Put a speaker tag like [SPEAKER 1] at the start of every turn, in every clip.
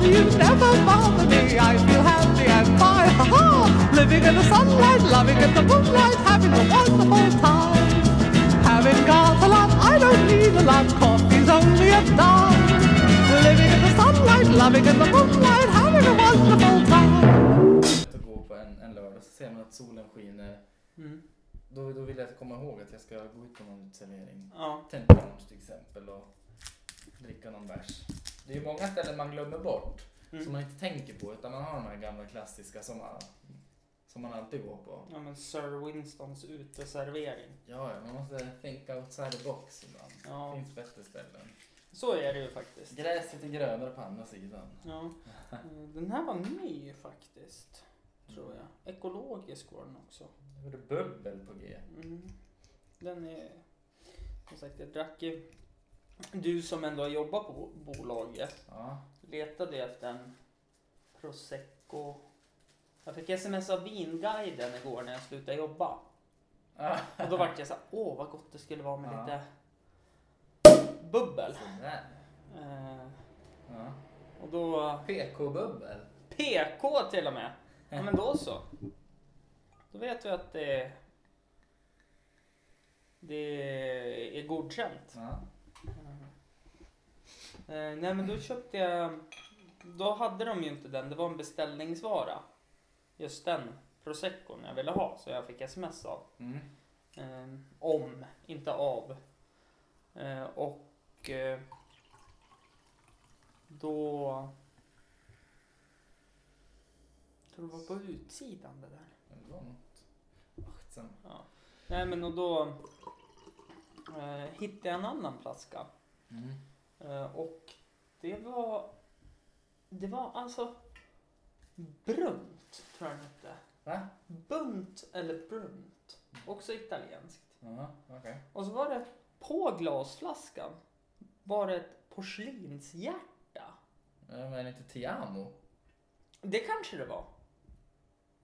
[SPEAKER 1] dreams never bother me. I feel happy and fine. Ha ha! Living in the sunlight, loving in the moonlight, having a wonderful time. Having got a lot, I don't need a lot. Coffee's only a dime. Living in the sunlight, loving in the moonlight, having a wonderful time.
[SPEAKER 2] att gå på en, en lördag så ser man att solen skiner.
[SPEAKER 3] Mm.
[SPEAKER 2] Då, då vill jag komma ihåg att jag ska gå ut på någon uteservering.
[SPEAKER 3] Ja.
[SPEAKER 2] Temperums till exempel och dricka någon bärs. Det är ju många ställen man glömmer bort
[SPEAKER 3] Mm.
[SPEAKER 2] som man inte tänker på utan man har de här gamla klassiska som man, som man alltid går på.
[SPEAKER 3] ja, men Sir Winstons uteservering.
[SPEAKER 2] Ja, ja, man måste think outside the box ibland.
[SPEAKER 3] Ja.
[SPEAKER 2] Det finns bättre ställen.
[SPEAKER 3] Så är det ju faktiskt.
[SPEAKER 2] Gräset är grönare på andra sidan.
[SPEAKER 3] Ja. Eh, Den här var ny faktiskt. Tror jag. Ekologisk var den också.
[SPEAKER 2] Jag hörde bubbel på G.
[SPEAKER 3] Mm. Den är... Som sagt, jag drack ju... Du som ändå har jobbat på bolaget
[SPEAKER 2] Ja.
[SPEAKER 3] letade ju efter en prosecco. Jag fick sms av Vinguiden igår när jag slutade jobba.
[SPEAKER 2] Ah,
[SPEAKER 3] Och då vart jag så här, åh vad gott det skulle vara med
[SPEAKER 2] Ja.
[SPEAKER 3] lite bubbel.
[SPEAKER 2] Sådär.
[SPEAKER 3] Eh,
[SPEAKER 2] Ja.
[SPEAKER 3] och då
[SPEAKER 2] PK-bubbel.
[SPEAKER 3] PK till och med. Ja men då så. Då vet vi att det, det är godkänt.
[SPEAKER 2] Ja.
[SPEAKER 3] Eh, nej men då köpte jag, då hade de ju inte den, det var en beställningsvara. Just den proseccon jag ville ha så jag fick sms av.
[SPEAKER 2] Mm.
[SPEAKER 3] Eh, om, inte av. Eh, och eh, då... Jag tror det var på utsidan det där.
[SPEAKER 2] Men det var något. Ah, skitsamma.
[SPEAKER 3] Ja. Nej men och då eh, hittade jag en annan flaska.
[SPEAKER 2] Mm.
[SPEAKER 3] Eh, och det var... Det var alltså brunt tror jag den hette.
[SPEAKER 2] Va?
[SPEAKER 3] Bunt eller brunt. Också italienskt.
[SPEAKER 2] Ja, okej.
[SPEAKER 3] Och så var det på glasflaskan var det ett porslinshjärta.
[SPEAKER 2] Ja, Men inte Tiamo
[SPEAKER 3] Det kanske det var.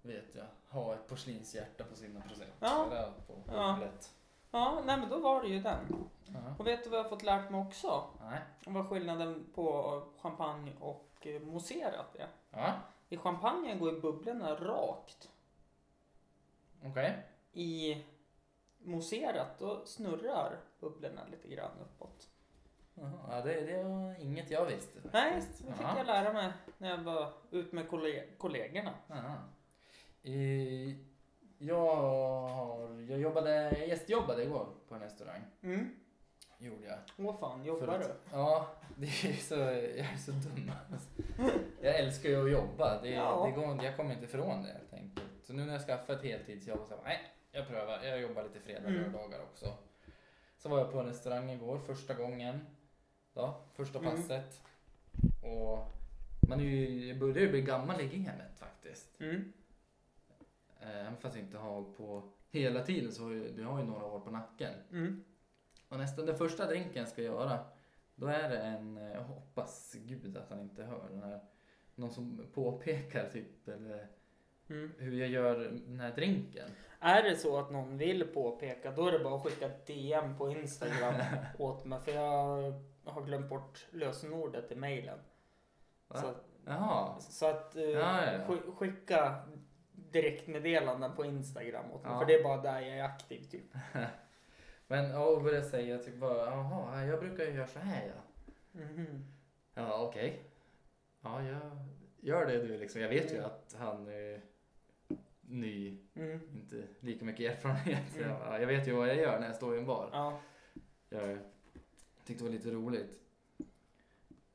[SPEAKER 2] vet jag ha ett porslinshjärta på sina presenter.
[SPEAKER 3] Ja.
[SPEAKER 2] Eller på
[SPEAKER 3] Ja.
[SPEAKER 2] bubblet.
[SPEAKER 3] Ja, nej men då var det ju den.
[SPEAKER 2] Ja.
[SPEAKER 3] Och vet du vad jag fått lärt mig också?
[SPEAKER 2] Nej.
[SPEAKER 3] Vad skillnaden på champagne och eh, mousserat är.
[SPEAKER 2] Ja,
[SPEAKER 3] I champagne går ju bubblorna rakt.
[SPEAKER 2] okej.
[SPEAKER 3] I mousserat då snurrar bubblorna lite grann uppåt.
[SPEAKER 2] Jaha, Ja, det, det var inget jag visste.
[SPEAKER 3] Nej, det fick
[SPEAKER 2] Ja.
[SPEAKER 3] jag lära mig när jag var ute med kolle- kollegorna.
[SPEAKER 2] Ja. Eh, jag, har, jag jobbade, jag gästjobbade igår på en restaurang.
[SPEAKER 3] Mm.
[SPEAKER 2] Gjorde jag.
[SPEAKER 3] Åh fan,
[SPEAKER 2] För
[SPEAKER 3] jobbar
[SPEAKER 2] att-
[SPEAKER 3] du?
[SPEAKER 2] Ja, det är så, jag är så dum. alltså. Jag älskar ju att jobba. Det,
[SPEAKER 3] Ja.
[SPEAKER 2] det går, inte- jag kommer inte ifrån det helt enkelt. Så nu när jag skaffat ett heltidsjobb så jag bara, nej, jag prövar. Jag jobbar lite fredag och
[SPEAKER 3] Mm.
[SPEAKER 2] lördagar också. Så var jag på en restaurang igår första gången. Då, första
[SPEAKER 3] Mm.
[SPEAKER 2] passet. Och man är ju, jag börjar ju bli gammal i gamet faktiskt.
[SPEAKER 3] Mm.
[SPEAKER 2] Eh, Även fast jag inte har hållit på hela tiden så har jag, jag har ju några år på nacken.
[SPEAKER 3] Mm.
[SPEAKER 2] Och nästan den första drinken jag ska göra, då är det en, eh, jag hoppas gud att han inte hör den här, någon som påpekar typ eller,
[SPEAKER 3] Mm.
[SPEAKER 2] hur jag gör den här drinken.
[SPEAKER 3] Är det så att någon vill påpeka då är det bara att skicka ett DM på Instagram åt mig för jag har glömt bort lösenordet i mejlen.
[SPEAKER 2] Va?
[SPEAKER 3] Så, att-
[SPEAKER 2] Jaha,
[SPEAKER 3] så att eh,
[SPEAKER 2] Ja, ja, ja.
[SPEAKER 3] sk- skicka direktmeddelanden på Instagram åt mig
[SPEAKER 2] Ja.
[SPEAKER 3] för det är bara där jag är aktiv typ.
[SPEAKER 2] men ja, och började säga typ bara, jaha, jag brukar ju göra så här ja.
[SPEAKER 3] Mhm.
[SPEAKER 2] Ja, okej. Ja, jag gör det du liksom. Jag vet ju att han är ny,
[SPEAKER 3] Mm.
[SPEAKER 2] inte lika mycket erfarenhet.
[SPEAKER 3] Mm.
[SPEAKER 2] Ja, jag vet ju vad jag gör när jag står i en bar.
[SPEAKER 3] Ja.
[SPEAKER 2] Jag tyckte det var lite roligt.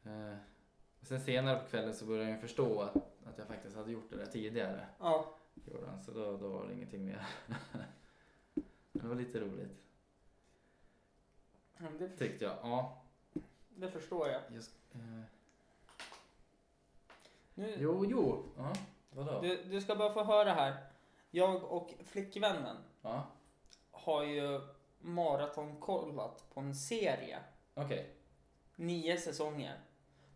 [SPEAKER 2] Eh, och sen senare på kvällen så började jag förstå att, att jag faktiskt hade gjort det där tidigare.
[SPEAKER 3] ja.
[SPEAKER 2] Gjorde han, så då, då var det ingenting mer. Men det var lite roligt
[SPEAKER 3] Men Det,
[SPEAKER 2] tyckte jag. Ja,
[SPEAKER 3] det förstår jag.
[SPEAKER 2] just, eh,
[SPEAKER 3] Nu,
[SPEAKER 2] jo, jo. Ja, vadå?
[SPEAKER 3] du, du ska bara få höra här. Jag och flickvännen
[SPEAKER 2] Ja,
[SPEAKER 3] har ju maratonkollat på en serie
[SPEAKER 2] okej.
[SPEAKER 3] Nio säsonger.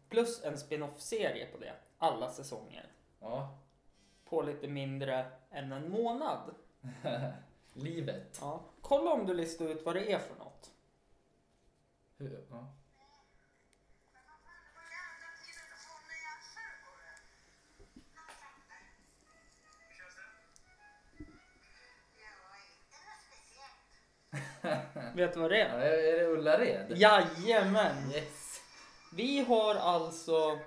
[SPEAKER 3] Plus en spin-off-serie på det. Alla säsonger.
[SPEAKER 2] Ja.
[SPEAKER 3] På lite mindre än en månad.
[SPEAKER 2] Livet.
[SPEAKER 3] Ja. Kolla om du listar ut vad det är för något.
[SPEAKER 2] Hur? Ja.
[SPEAKER 3] Vet du vad det
[SPEAKER 2] Ja,
[SPEAKER 3] är?
[SPEAKER 2] är är det Ullared?
[SPEAKER 3] Jajamän!
[SPEAKER 2] Yes.
[SPEAKER 3] Vi har alltså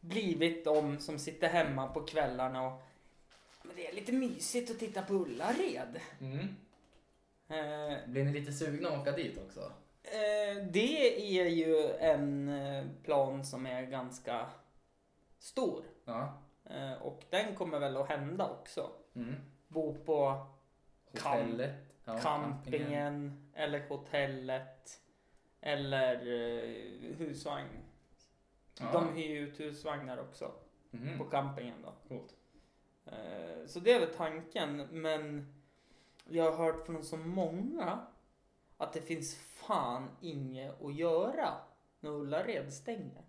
[SPEAKER 3] blivit de som sitter hemma på kvällarna och men det är lite mysigt att titta på Ullared.
[SPEAKER 2] Mm.
[SPEAKER 3] Eh,
[SPEAKER 2] Blir ni lite sugna att åka dit också?
[SPEAKER 3] Eh, det är ju en eh, plan som är ganska stor.
[SPEAKER 2] Ja.
[SPEAKER 3] Eh, och den kommer väl att hända också.
[SPEAKER 2] Mm.
[SPEAKER 3] Bo på
[SPEAKER 2] Hotellet. Ja, campingen.
[SPEAKER 3] campingen eller hotellet. Eller eh, husvagn.
[SPEAKER 2] Ja.
[SPEAKER 3] De hyr ju ut husvagnar också
[SPEAKER 2] Mhm.
[SPEAKER 3] på campingen då.
[SPEAKER 2] Coolt.
[SPEAKER 3] Eh, Så det är väl tanken. Men jag har hört från så många att det finns fan inget att göra när Ullared stänger.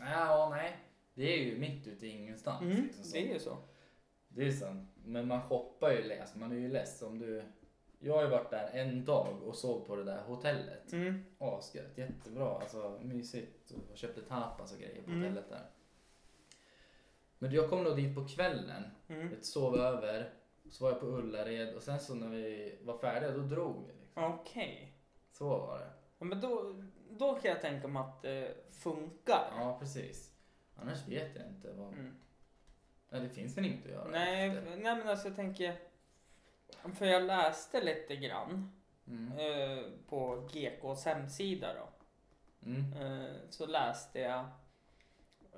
[SPEAKER 2] Ja, nej. Det är ju mitt ute i ingenstans.
[SPEAKER 3] Mm,
[SPEAKER 2] liksom så.
[SPEAKER 3] det är ju så.
[SPEAKER 2] Det är sant. Men man shoppar ju less. Alltså, man är ju less om du... Jag har ju varit där en dag och sov på det där hotellet.
[SPEAKER 3] Mm.
[SPEAKER 2] Asgött, jättebra. Alltså mysigt. Och köpte tapas och grejer på
[SPEAKER 3] Mm.
[SPEAKER 2] hotellet där. Men jag kom då dit på kvällen.
[SPEAKER 3] Mm.
[SPEAKER 2] Jag sov över. Så var jag på Ullared och sen så när vi var färdiga då drog vi. Liksom.
[SPEAKER 3] Okej.
[SPEAKER 2] Så var det.
[SPEAKER 3] Ja, men då, då kan jag tänka mig att det funkar.
[SPEAKER 2] Ja, precis. Annars vet jag inte vad...
[SPEAKER 3] Mm.
[SPEAKER 2] Nej, det finns väl inget att göra
[SPEAKER 3] Nej,
[SPEAKER 2] efter.
[SPEAKER 3] nej men alltså jag tänker. För jag läste lite grann
[SPEAKER 2] Mm.
[SPEAKER 3] eh, på GKs hemsida då.
[SPEAKER 2] Mm.
[SPEAKER 3] Eh, så läste jag.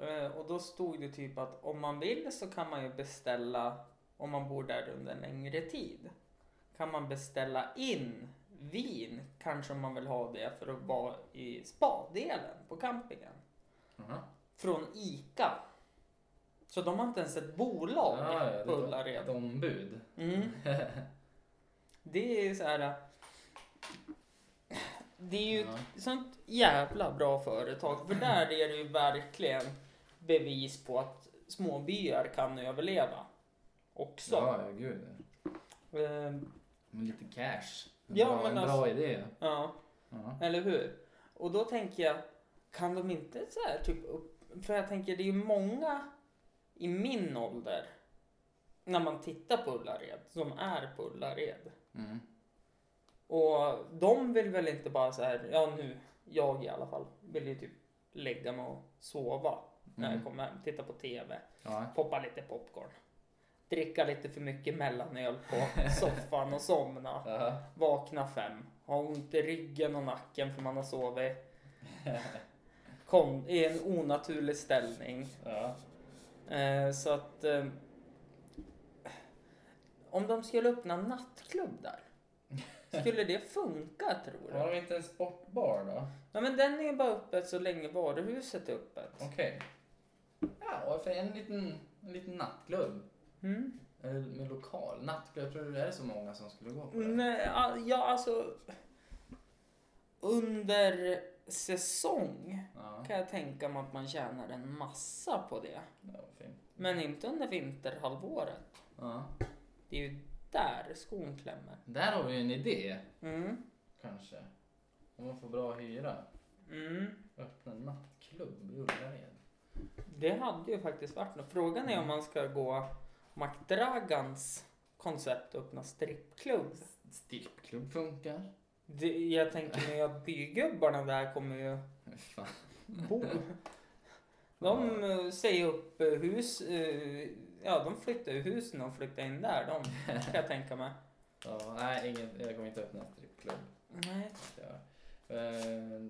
[SPEAKER 3] Eh, och då stod det typ att om man vill så kan man ju beställa, om man bor där under en längre tid, kan man beställa in vin, kanske om man vill ha det för att vara i spadelen på campingen.
[SPEAKER 2] Aha.
[SPEAKER 3] Från ICA. Så de har inte ens ett bolag
[SPEAKER 2] Ja, ja,
[SPEAKER 3] på
[SPEAKER 2] det är ett
[SPEAKER 3] Ullared.
[SPEAKER 2] ombud.
[SPEAKER 3] Mm. Det är så här. Det är ju
[SPEAKER 2] Ja.
[SPEAKER 3] ett sånt jävla bra företag. För där är det ju verkligen bevis på att små byar kan överleva. Också.
[SPEAKER 2] Ja, ja, gud.
[SPEAKER 3] Ehm,
[SPEAKER 2] Men lite cash. En
[SPEAKER 3] Ja,
[SPEAKER 2] bra,
[SPEAKER 3] men
[SPEAKER 2] en
[SPEAKER 3] alltså-
[SPEAKER 2] bra idé.
[SPEAKER 3] ja,
[SPEAKER 2] Ja.
[SPEAKER 3] eller hur? Och då tänker jag, kan de inte så här typ upp... För jag tänker, det är ju många i min ålder när man tittar på Ullared, som är på Ullared.
[SPEAKER 2] Mm.
[SPEAKER 3] Och de vill väl inte bara så här, ja nu, jag i alla fall, vill ju typ lägga mig och sova när jag
[SPEAKER 2] Mm.
[SPEAKER 3] kommer hem, titta på TV,
[SPEAKER 2] Ja.
[SPEAKER 3] poppa lite popcorn, dricka lite för mycket mellanöl på soffan och somna,
[SPEAKER 2] Ja.
[SPEAKER 3] vakna fem, ha ont i ryggen och nacken för man har sovit kon- i en onaturlig ställning.
[SPEAKER 2] Ja.
[SPEAKER 3] Eh, så att eh, om de skulle öppna en nattklubb där, skulle det funka tror du?
[SPEAKER 2] Har de inte en sportbar då?
[SPEAKER 3] Ja men den är ju bara öppet så länge varuhuset är öppet.
[SPEAKER 2] Okej. Ja, och för en liten, en liten nattklubb.
[SPEAKER 3] Mm.
[SPEAKER 2] Eller Med lokal nattklubb. Tror du det är så många som skulle gå på det?
[SPEAKER 3] Nej, a- ja alltså. Under säsong
[SPEAKER 2] Ja.
[SPEAKER 3] kan jag tänka mig att man tjänar en massa på det.
[SPEAKER 2] Ja, vad fint.
[SPEAKER 3] Men inte under vinterhalvåret.
[SPEAKER 2] Ja.
[SPEAKER 3] Det är ju där skon klämmer.
[SPEAKER 2] Där har vi ju en idé.
[SPEAKER 3] Mm.
[SPEAKER 2] Kanske. Om man får bra hyra.
[SPEAKER 3] Mm.
[SPEAKER 2] Öppna en nattklubb i Ullared.
[SPEAKER 3] Det hade ju faktiskt varit något. Frågan är om man ska gå McDragans koncept och öppna strippklubb.
[SPEAKER 2] Strippklubb funkar.
[SPEAKER 3] Det, jag tänker mig att bygubbarna där kommer ju
[SPEAKER 2] Fan.
[SPEAKER 3] bo. De eh, säger upp eh, hus. eh, Ja, de flyttar ju husen och flyttar in där. De kan jag tänka mig.
[SPEAKER 2] Ja, nej, ingen, jag kommer inte öppna en strippklubb.
[SPEAKER 3] Nej.
[SPEAKER 2] Det gör jag. Eh,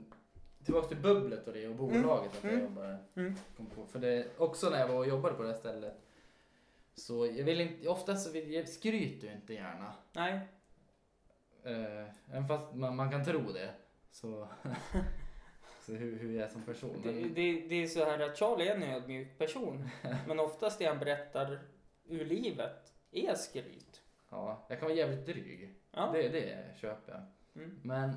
[SPEAKER 2] tillbaka till bubblet och det och bolaget att jag
[SPEAKER 3] Mm.
[SPEAKER 2] jobbade.
[SPEAKER 3] Mm.
[SPEAKER 2] Kom på. För det, också när jag var och jobbade på det här stället. Så jag vill inte, oftast så vill jag, skryter jag inte gärna.
[SPEAKER 3] Nej.
[SPEAKER 2] Eh, även fast man, man kan tro det. Så, så hur, hur jag är som person.
[SPEAKER 3] Det,
[SPEAKER 2] Men,
[SPEAKER 3] det, det är så här att Charlie är en ödmjuk person. Men oftast det han berättar ur livet är skryt.
[SPEAKER 2] ja, jag kan vara jävligt dryg.
[SPEAKER 3] Ja.
[SPEAKER 2] Det, det köper jag.
[SPEAKER 3] Mm.
[SPEAKER 2] Men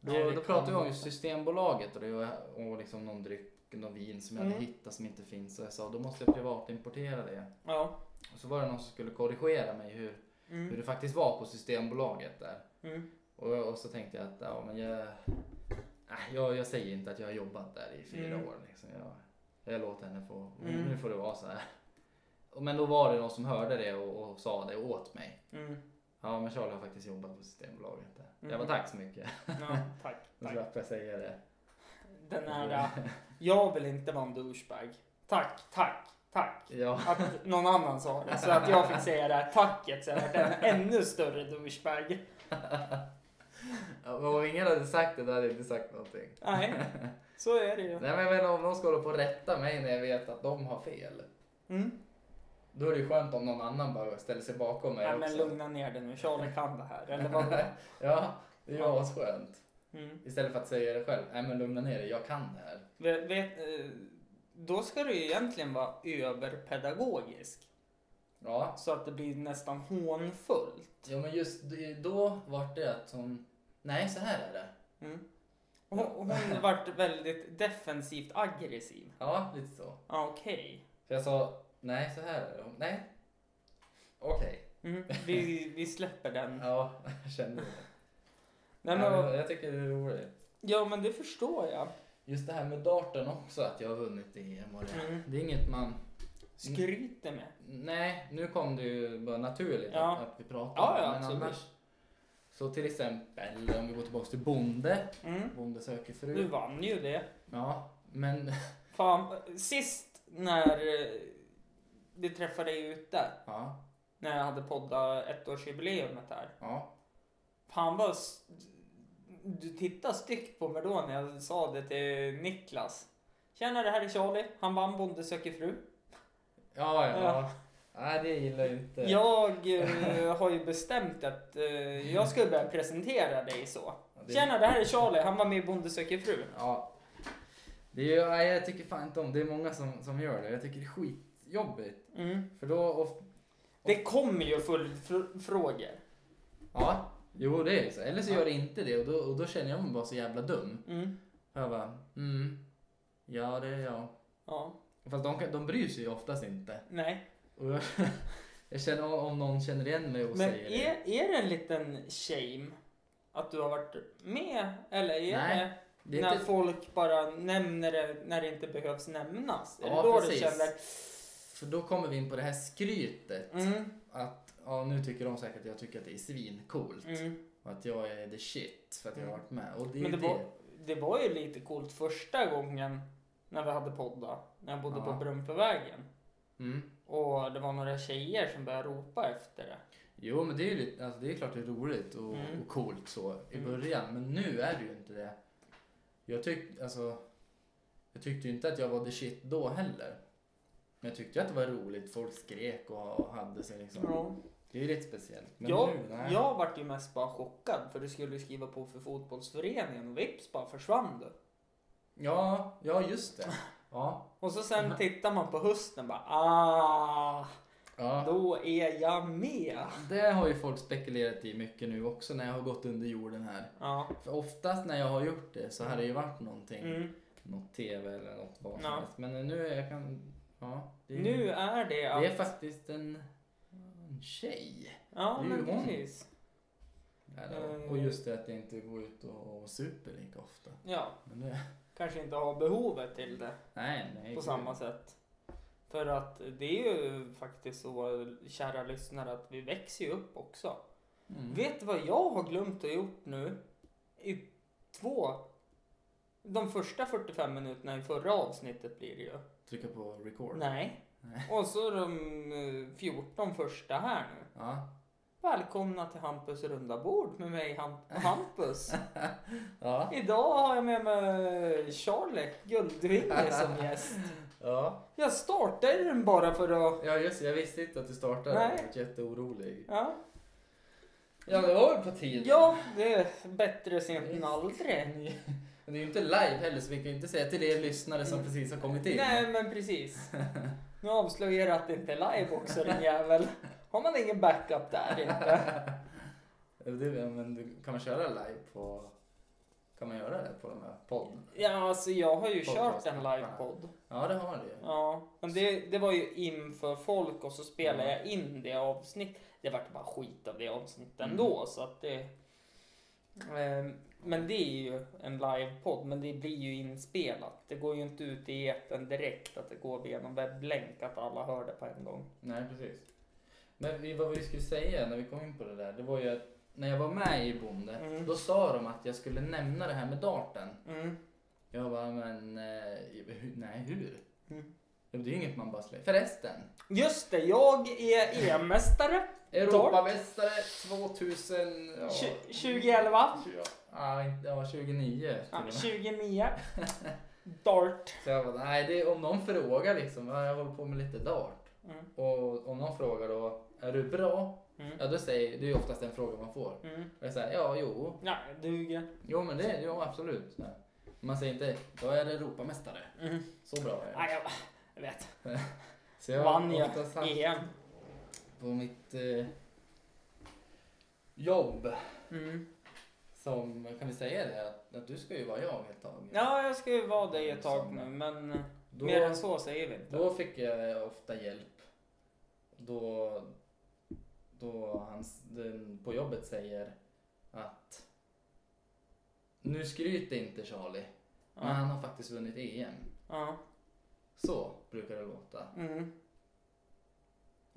[SPEAKER 2] då,
[SPEAKER 3] Nej, det
[SPEAKER 2] då
[SPEAKER 3] kan
[SPEAKER 2] pratar jag om
[SPEAKER 3] man
[SPEAKER 2] ju
[SPEAKER 3] inte.
[SPEAKER 2] Systembolaget och, det var, och liksom någon dryck, någon vin som jag
[SPEAKER 3] Mm.
[SPEAKER 2] hade hittat som inte finns. Och jag sa, då måste jag privatimportera det.
[SPEAKER 3] Ja.
[SPEAKER 2] Och så var det någon som skulle korrigera mig hur, hur
[SPEAKER 3] Mm.
[SPEAKER 2] det faktiskt var på Systembolaget där.
[SPEAKER 3] Mm.
[SPEAKER 2] Och, och så tänkte jag att ja, men jag, äh, jag, jag säger inte att jag har jobbat där i fyra
[SPEAKER 3] Mm.
[SPEAKER 2] år. Liksom. Jag, jag låter henne få,
[SPEAKER 3] Mm.
[SPEAKER 2] nu får det vara så här. Och- Men då var det någon som hörde det och, och sa det åt mig.
[SPEAKER 3] Mm.
[SPEAKER 2] Ja, men Charlie har faktiskt jobbat på Systembolaget. där.
[SPEAKER 3] Mm.
[SPEAKER 2] Jag var tack så mycket.
[SPEAKER 3] Ja, tack.
[SPEAKER 2] Nu
[SPEAKER 3] tack.
[SPEAKER 2] slapp jag säga det.
[SPEAKER 3] Den här, äh, jag vill inte vara en douchebag. Tack, tack, tack.
[SPEAKER 2] Ja,
[SPEAKER 3] Att någon annan sa det. Så att jag fick säga det här tacket så jag varit en ännu större douchebag.
[SPEAKER 2] Ja, men om ingen hade sagt det då hade jag inte sagt någonting.
[SPEAKER 3] Nej, så är det ju. Mm.
[SPEAKER 2] Nej, men jag menar om någon ska hålla på och rätta mig när jag vet att de har fel.
[SPEAKER 3] Mm.
[SPEAKER 2] Då är det ju skönt om någon annan bara ställer sig bakom mig
[SPEAKER 3] Nej, men
[SPEAKER 2] också.
[SPEAKER 3] lugna ner dig nu. Charlie kan det här. Eller vad det
[SPEAKER 2] Ja, det är ju asskönt.
[SPEAKER 3] mm.
[SPEAKER 2] Istället för att säga det själv. Nej, men lugna ner dig. Jag kan det här.
[SPEAKER 3] Ve- vet, eh, Då ska du ju egentligen vara överpedagogisk.
[SPEAKER 2] Ja,
[SPEAKER 3] Så att det blir nästan hånfullt.
[SPEAKER 2] ja men just det- då vart det att hon... Nej, så här är det.
[SPEAKER 3] Mm. Hon, hon vart väldigt defensivt aggressiv.
[SPEAKER 2] Ja, lite så.
[SPEAKER 3] Ja, Okej.
[SPEAKER 2] För jag sa, nej så här är det. Hon, Nej. Okej.
[SPEAKER 3] Mm. Vi, vi släpper den.
[SPEAKER 2] Ja, jag kände det.
[SPEAKER 3] Nej, men,
[SPEAKER 2] Ja,
[SPEAKER 3] vad-
[SPEAKER 2] Jag tycker det är roligt.
[SPEAKER 3] ja men det förstår jag.
[SPEAKER 2] Just det här med darten också, att jag har vunnit i EM och det.
[SPEAKER 3] Mm.
[SPEAKER 2] Det är inget man...
[SPEAKER 3] Skryter med.
[SPEAKER 2] Nej, nu kom det ju bara naturligt
[SPEAKER 3] Ja.
[SPEAKER 2] att, att vi pratar
[SPEAKER 3] Ja,
[SPEAKER 2] om det,
[SPEAKER 3] ja,
[SPEAKER 2] men
[SPEAKER 3] absolut.
[SPEAKER 2] annars. Så till exempel om vi går tillbaka till Bonde.
[SPEAKER 3] Mm.
[SPEAKER 2] Bonde söker fru.
[SPEAKER 3] Du vann ju det.
[SPEAKER 2] Ja, men
[SPEAKER 3] Fan, sist när eh, vi träffade dig ute,
[SPEAKER 2] ja,
[SPEAKER 3] när jag hade podda ettårsjubileumet här.
[SPEAKER 2] ja.
[SPEAKER 3] Fan vad... s- Du tittade styggt på mig då när jag sa det till Niklas. Tjena, det här är Charlie. Han vann Bonde söker fru.
[SPEAKER 2] Ja, ja.
[SPEAKER 3] Ja.
[SPEAKER 2] Nej, det gillar ju inte.
[SPEAKER 3] Jag eh, har ju bestämt att eh, jag ska börja presentera dig så.
[SPEAKER 2] Ja, det-
[SPEAKER 3] Tjena, det här är Charlie. Han var med i Bonde söker fru.
[SPEAKER 2] Ja. Det är ju, nej, jag tycker fan inte om det. är många som, som gör det. Jag tycker det är skitjobbigt.
[SPEAKER 3] Mm.
[SPEAKER 2] För då... Och,
[SPEAKER 3] Det kommer ju följdfrågor.
[SPEAKER 2] ja, jo det är ju så. Eller så gör det inte det och då, och då känner jag mig bara så jävla dum.
[SPEAKER 3] Mm.
[SPEAKER 2] Och jag bara, mm. Ja, det är jag.
[SPEAKER 3] Ja.
[SPEAKER 2] Fast de, kan- de bryr sig ju oftast inte.
[SPEAKER 3] Nej.
[SPEAKER 2] Och jag, jag känner om- om någon känner igen mig och
[SPEAKER 3] Men
[SPEAKER 2] säger det.
[SPEAKER 3] är, är det en liten shame att du har varit med? Eller är
[SPEAKER 2] Nej,
[SPEAKER 3] det,
[SPEAKER 2] Det är
[SPEAKER 3] när
[SPEAKER 2] inte,
[SPEAKER 3] folk bara nämner det när det inte behövs nämnas? är
[SPEAKER 2] Ja,
[SPEAKER 3] det då
[SPEAKER 2] precis.
[SPEAKER 3] du känner...
[SPEAKER 2] för då kommer vi in på det här skrytet.
[SPEAKER 3] Mm,
[SPEAKER 2] Att ja, nu tycker de säkert att jag tycker att det är svincoolt.
[SPEAKER 3] mm.
[SPEAKER 2] Och att jag är the shit för att jag har varit med. Och det är
[SPEAKER 3] Men det
[SPEAKER 2] ju
[SPEAKER 3] var,
[SPEAKER 2] det.
[SPEAKER 3] det var ju lite coolt första gången när vi hade podda. När jag bodde
[SPEAKER 2] Ja.
[SPEAKER 3] på Brunflovägen.
[SPEAKER 2] Mm.
[SPEAKER 3] Och det var några tjejer som började ropa efter det.
[SPEAKER 2] Jo, men det är ju lite, alltså det är klart det är roligt och,
[SPEAKER 3] Mm.
[SPEAKER 2] och coolt så i
[SPEAKER 3] Mm.
[SPEAKER 2] början, men nu är det ju inte det. Jag, tyck, alltså, jag tyckte ju inte att jag var the shit då heller. Men jag tyckte ju att det var roligt, folk skrek och, och hade sig liksom.
[SPEAKER 3] Ja.
[SPEAKER 2] Det är ju lite speciellt. Men
[SPEAKER 3] Jag,
[SPEAKER 2] nu, nej.
[SPEAKER 3] jag vart ju mest bara chockad för du skulle skriva på för fotbollsföreningen och vips bara försvann du.
[SPEAKER 2] Ja, ja, just det. Ja,
[SPEAKER 3] Och så
[SPEAKER 2] Mm.
[SPEAKER 3] sen tittar man på hösten bara ah,
[SPEAKER 2] ja.
[SPEAKER 3] då är jag med.
[SPEAKER 2] Det har ju folk spekulerat i mycket nu också när jag har gått under jorden här.
[SPEAKER 3] Ja.
[SPEAKER 2] För oftast när jag har gjort det så har det ju varit någonting.
[SPEAKER 3] Mm.
[SPEAKER 2] Något tv eller något vad som
[SPEAKER 3] Ja.
[SPEAKER 2] helst. Men nu är jag kan... Ja, det är-
[SPEAKER 3] Nu är det
[SPEAKER 2] Det är
[SPEAKER 3] att...
[SPEAKER 2] faktiskt en, en tjej.
[SPEAKER 3] Ja
[SPEAKER 2] det är ju
[SPEAKER 3] men
[SPEAKER 2] hon.
[SPEAKER 3] precis.
[SPEAKER 2] Är det.
[SPEAKER 3] Eh.
[SPEAKER 2] Och just det att jag inte går ut och, och super lika ofta.
[SPEAKER 3] Ja,
[SPEAKER 2] Men det,
[SPEAKER 3] kanske inte har behovet till det
[SPEAKER 2] nej, nej.
[SPEAKER 3] på
[SPEAKER 2] gud.
[SPEAKER 3] samma sätt. För att det är ju faktiskt så kära lyssnare att vi växer ju upp också.
[SPEAKER 2] Mm.
[SPEAKER 3] Vet du vad jag har glömt att gjort nu? I två... De första 45 minuterna i förra avsnittet blir det ju.
[SPEAKER 2] Trycka på record.
[SPEAKER 3] Nej.
[SPEAKER 2] Nej.
[SPEAKER 3] Och så de eh, 14 första här nu.
[SPEAKER 2] Ja.
[SPEAKER 3] Välkomna till Hampus runda bord med mig Hamp- Hampus.
[SPEAKER 2] Ja.
[SPEAKER 3] Idag har jag med mig Charlie Guldvinge som gäst.
[SPEAKER 2] ja.
[SPEAKER 3] Jag startade den bara för att...
[SPEAKER 2] Ja, just det. Jag visste inte att du startade.
[SPEAKER 3] Nej.
[SPEAKER 2] Jag var jätteorolig.
[SPEAKER 3] Ja,
[SPEAKER 2] Ja, det var väl på tiden.
[SPEAKER 3] ja det är bättre sent än aldrig.
[SPEAKER 2] Ni- Men det är ju inte live heller så vi kan ju inte säga till er lyssnare som precis har kommit in.
[SPEAKER 3] Mm. Nej men precis. Nu avslöjar jag att det inte är live också din jävel. Har man ingen backup där inte?
[SPEAKER 2] Du, men du, kan man köra live på... Kan man göra det på de här podden?
[SPEAKER 3] Ja alltså jag har ju
[SPEAKER 2] Podcast.
[SPEAKER 3] kört en livepodd.
[SPEAKER 2] Ja, det har du ju.
[SPEAKER 3] Ja, men det, det var ju inför folk och så spelade jag in det avsnitt. Det vart bara skit av det avsnittet ändå så att det... Ehm, Men det är ju en livepodd men det blir ju inspelat. Det går ju inte ut i etern direkt att det går via någon webblänk att alla hör det på en gång.
[SPEAKER 2] Nej, precis. Men vi, vad vi skulle säga när vi kom in på det där, det var ju att när jag var med i Bonde,
[SPEAKER 3] Mm.
[SPEAKER 2] då sa de att jag skulle nämna det här med darten.
[SPEAKER 3] Mm.
[SPEAKER 2] Jag bara, men eh, hu- nej hur?
[SPEAKER 3] Mm.
[SPEAKER 2] Det är ju inget man bara släpper. Förresten,
[SPEAKER 3] Just det, jag är EM-mästare.
[SPEAKER 2] Europamästare 2000... Ja,
[SPEAKER 3] Tju- 2011.
[SPEAKER 2] tjugo- ja, inte- ja, 29 till
[SPEAKER 3] Ja,
[SPEAKER 2] och med.
[SPEAKER 3] 2009. Dart.
[SPEAKER 2] Så jag bara, nej det, är- om någon frågar liksom, ja, jag håller på med lite dart.
[SPEAKER 3] Mm.
[SPEAKER 2] Och om någon frågar då, är du bra?
[SPEAKER 3] Mm.
[SPEAKER 2] Ja då säger, det är ju oftast den fråga man får.
[SPEAKER 3] Mm.
[SPEAKER 2] Och jag säger, ja jo,
[SPEAKER 3] Ja, det duger.
[SPEAKER 2] Jo men det, jo absolut. Så här. Man säger inte, jag är Europamästare.
[SPEAKER 3] Mm.
[SPEAKER 2] Så bra är jag.
[SPEAKER 3] Ja, jag, jag vet.
[SPEAKER 2] Så jag
[SPEAKER 3] Vann
[SPEAKER 2] har
[SPEAKER 3] jag E
[SPEAKER 2] oftast haft
[SPEAKER 3] EM.
[SPEAKER 2] på mitt eh, jobb
[SPEAKER 3] Mm.
[SPEAKER 2] som, kan vi säga det, att, att du ska ju vara jag ett tag.
[SPEAKER 3] Ja, jag ska ju vara dig ett tag nu, men eh,
[SPEAKER 2] då,
[SPEAKER 3] mer än så säger vi inte.
[SPEAKER 2] då fick jag ofta hjälp. Då, då han s- den på jobbet säger att nu skryter inte Charlie, men
[SPEAKER 3] Ja.
[SPEAKER 2] han har faktiskt vunnit EM.
[SPEAKER 3] Ja.
[SPEAKER 2] Så brukar det låta.
[SPEAKER 3] Mm.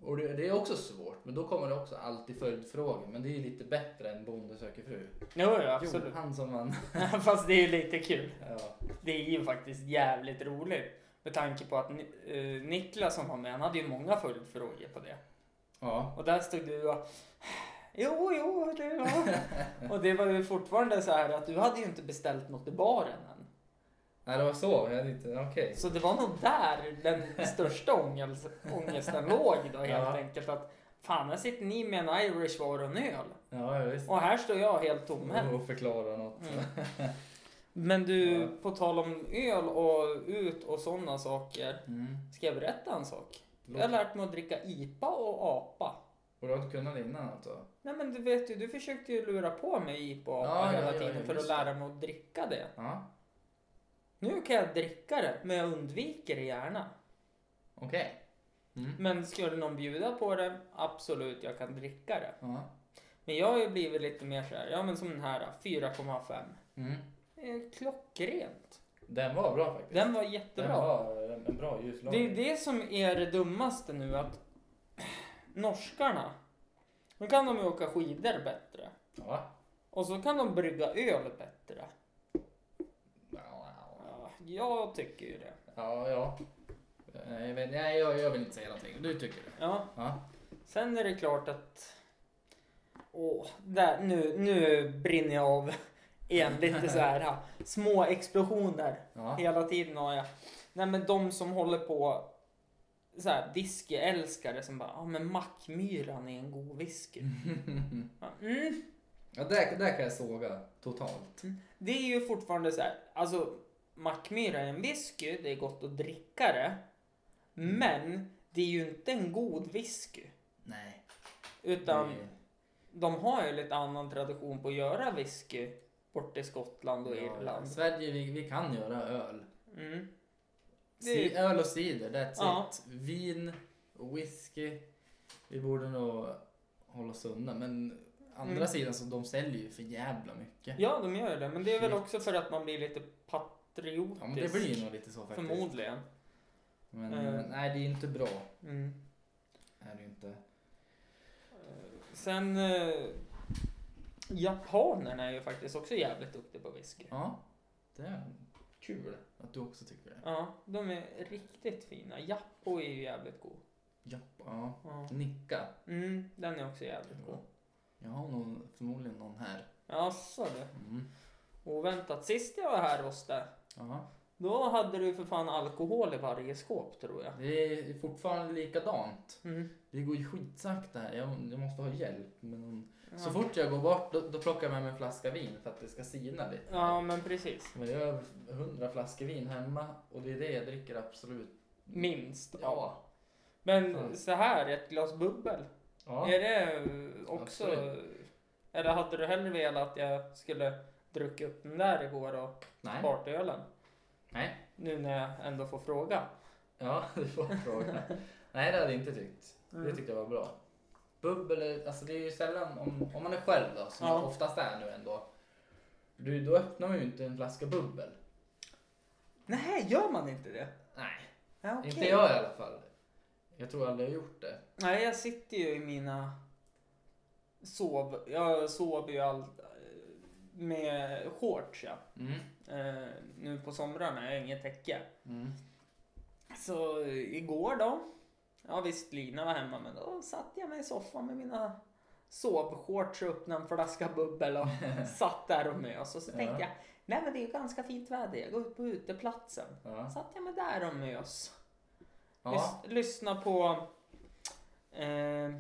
[SPEAKER 2] Och det, det är också svårt, men då kommer det också alltid följdfrågor. Men det är ju lite bättre än Bonde söker fru.
[SPEAKER 3] Jo, jo, absolut.
[SPEAKER 2] Jo, han som vann.
[SPEAKER 3] Fast det är ju lite kul.
[SPEAKER 2] Ja.
[SPEAKER 3] Det är ju faktiskt jävligt roligt. Med tanke på att Ni- eh, Niklas som var med, han hade ju många följdfrågor på det.
[SPEAKER 2] ja.
[SPEAKER 3] Och där stod du och Jo, jo, det var... och det var ju fortfarande så här att du hade ju inte beställt något i baren än.
[SPEAKER 2] Nej, det var så. Jag tänkte, okej.
[SPEAKER 3] Så det var nog där den största ångest, ångesten låg då helt
[SPEAKER 2] Ja.
[SPEAKER 3] enkelt. Att fan, här sitter ni med en Irish var och en öl.
[SPEAKER 2] Ja, ja, visst.
[SPEAKER 3] Och här står jag helt tomhänt.
[SPEAKER 2] Och förklara något.
[SPEAKER 3] Mm. Men du,
[SPEAKER 2] Ja.
[SPEAKER 3] på tal om öl och ut och sådana saker.
[SPEAKER 2] Mm.
[SPEAKER 3] Ska jag berätta en sak?
[SPEAKER 2] Låt.
[SPEAKER 3] Jag har lärt mig att dricka IPA och APA.
[SPEAKER 2] Och du har inte kunnat det innan alltså?
[SPEAKER 3] Nej men du vet ju, du försökte ju lura på mig IPA och APA
[SPEAKER 2] Ja, ja,
[SPEAKER 3] hela
[SPEAKER 2] ja,
[SPEAKER 3] tiden
[SPEAKER 2] ja,
[SPEAKER 3] för att
[SPEAKER 2] just det.
[SPEAKER 3] lära mig att dricka det.
[SPEAKER 2] Ja,
[SPEAKER 3] Nu kan jag dricka det, men jag undviker det gärna.
[SPEAKER 2] okej. Mm.
[SPEAKER 3] Men skulle någon bjuda på det, absolut, jag kan dricka det.
[SPEAKER 2] Ja.
[SPEAKER 3] Men jag har ju blivit lite mer såhär, ja men som den här 4,5.
[SPEAKER 2] Mm.
[SPEAKER 3] Det är Klockrent.
[SPEAKER 2] Den var bra faktiskt.
[SPEAKER 3] Den var
[SPEAKER 2] Den
[SPEAKER 3] jättebra.
[SPEAKER 2] var en, en bra ljuslag.
[SPEAKER 3] Det är det som är det dummaste nu att norskarna, nu kan de ju åka skidor bättre.
[SPEAKER 2] Ja.
[SPEAKER 3] Och så kan de brygga öl bättre.
[SPEAKER 2] Ja,
[SPEAKER 3] Ja, jag tycker ju det.
[SPEAKER 2] ja. ja. Nej, Jag, vet, nej, jag, jag vill inte säga någonting. Du tycker det?
[SPEAKER 3] Ja,
[SPEAKER 2] Ja.
[SPEAKER 3] sen är det klart att... Åh, där, nu, nu brinner jag av igen lite så här. ha, Små explosioner
[SPEAKER 2] Ja.
[SPEAKER 3] hela tiden har jag. Nej men de som håller på så här whiskyälskare som bara, ja ah, men Mackmyran är en god whisky. Ja, mm.
[SPEAKER 2] ja där, där kan jag såga totalt.
[SPEAKER 3] Det är ju fortfarande så här, alltså Mackmyra är en whisky, det är gott att dricka det.
[SPEAKER 2] Mm.
[SPEAKER 3] Men det är ju inte en god whisky.
[SPEAKER 2] Nej.
[SPEAKER 3] Utan de har ju lite annan tradition på att göra whisky bort i Skottland och
[SPEAKER 2] Ja,
[SPEAKER 3] Irland.
[SPEAKER 2] Sverige, vi, vi kan göra öl.
[SPEAKER 3] Mm.
[SPEAKER 2] Si,
[SPEAKER 3] Det-
[SPEAKER 2] öl och cider, that's
[SPEAKER 3] Ja.
[SPEAKER 2] it. Vin, whisky. Vi borde nog hålla oss undan. Men andra
[SPEAKER 3] Mm.
[SPEAKER 2] sidan så de säljer ju för jävla mycket.
[SPEAKER 3] Ja, de gör ju det. Men det är väl
[SPEAKER 2] Shit.
[SPEAKER 3] också för att man blir lite patriotisk.
[SPEAKER 2] Ja, men det blir ju nog lite så faktiskt.
[SPEAKER 3] Förmodligen.
[SPEAKER 2] Men
[SPEAKER 3] Eh.
[SPEAKER 2] nej, det är inte bra.
[SPEAKER 3] Mm.
[SPEAKER 2] Är det ju inte.
[SPEAKER 3] Sen... Eh, japanerna är ju faktiskt också jävligt duktiga på whisky.
[SPEAKER 2] Ja, det är kul att du också tycker det.
[SPEAKER 3] Ja, de är riktigt fina. Jappo är ju jävligt god.
[SPEAKER 2] Ja, ja.
[SPEAKER 3] Ja.
[SPEAKER 2] nicka.
[SPEAKER 3] Mm, den är också jävligt god.
[SPEAKER 2] Jag har nog förmodligen någon här.
[SPEAKER 3] Jaså du.
[SPEAKER 2] Mm.
[SPEAKER 3] Oväntat. Sist jag var här hos dig,
[SPEAKER 2] Ja.
[SPEAKER 3] då hade du för fan alkohol i varje skåp tror jag.
[SPEAKER 2] Det är fortfarande likadant.
[SPEAKER 3] Mm.
[SPEAKER 2] Det går ju skitsakta här. Jag, jag måste ha hjälp med någon.
[SPEAKER 3] Ja.
[SPEAKER 2] Så fort jag går bort då, då plockar jag med mig en flaska vin för att det ska sina lite.
[SPEAKER 3] Ja, men precis.
[SPEAKER 2] Men jag har hundra flaskor vin hemma och det är det jag dricker absolut.
[SPEAKER 3] Minst.
[SPEAKER 2] Ja.
[SPEAKER 3] Men
[SPEAKER 2] Fan.
[SPEAKER 3] så här, ett glas bubbel.
[SPEAKER 2] Ja.
[SPEAKER 3] Är det eh, också... Eller hade du hellre velat att jag skulle druckit upp den där igår och
[SPEAKER 2] Nej.
[SPEAKER 3] partyölen?
[SPEAKER 2] Nej.
[SPEAKER 3] Nu när jag ändå får fråga.
[SPEAKER 2] Ja, du får fråga. Nej, det hade jag inte tyckt.
[SPEAKER 3] Mm.
[SPEAKER 2] Det tyckte jag var bra. Bubbel, är- alltså det är ju sällan om, om man är själv då, som
[SPEAKER 3] Ja.
[SPEAKER 2] det oftast är nu ändå. Du, då öppnar man ju inte en flaska bubbel.
[SPEAKER 3] Nej, gör man inte det?
[SPEAKER 2] Nej,
[SPEAKER 3] Ja, okej.
[SPEAKER 2] inte jag i alla fall. Jag tror aldrig jag har gjort det.
[SPEAKER 3] Nej, jag sitter ju i mina sov... Jag sover ju allt med shorts ja.
[SPEAKER 2] Mm.
[SPEAKER 3] Eh, nu på somrarna, jag har inget täcke.
[SPEAKER 2] Mm.
[SPEAKER 3] Så eh, igår då. Ja visst, Lina var hemma men då satt jag mig i soffan med mina sovshorts och öppnade en flaska bubbel och satt där och mös. Och så
[SPEAKER 2] Ja.
[SPEAKER 3] tänkte jag, nej men det är ju ganska fint väder, jag går ut på uteplatsen.
[SPEAKER 2] Ja.
[SPEAKER 3] Satt jag mig där och mös.
[SPEAKER 2] Ja.
[SPEAKER 3] Lys- lyssna på... Eh,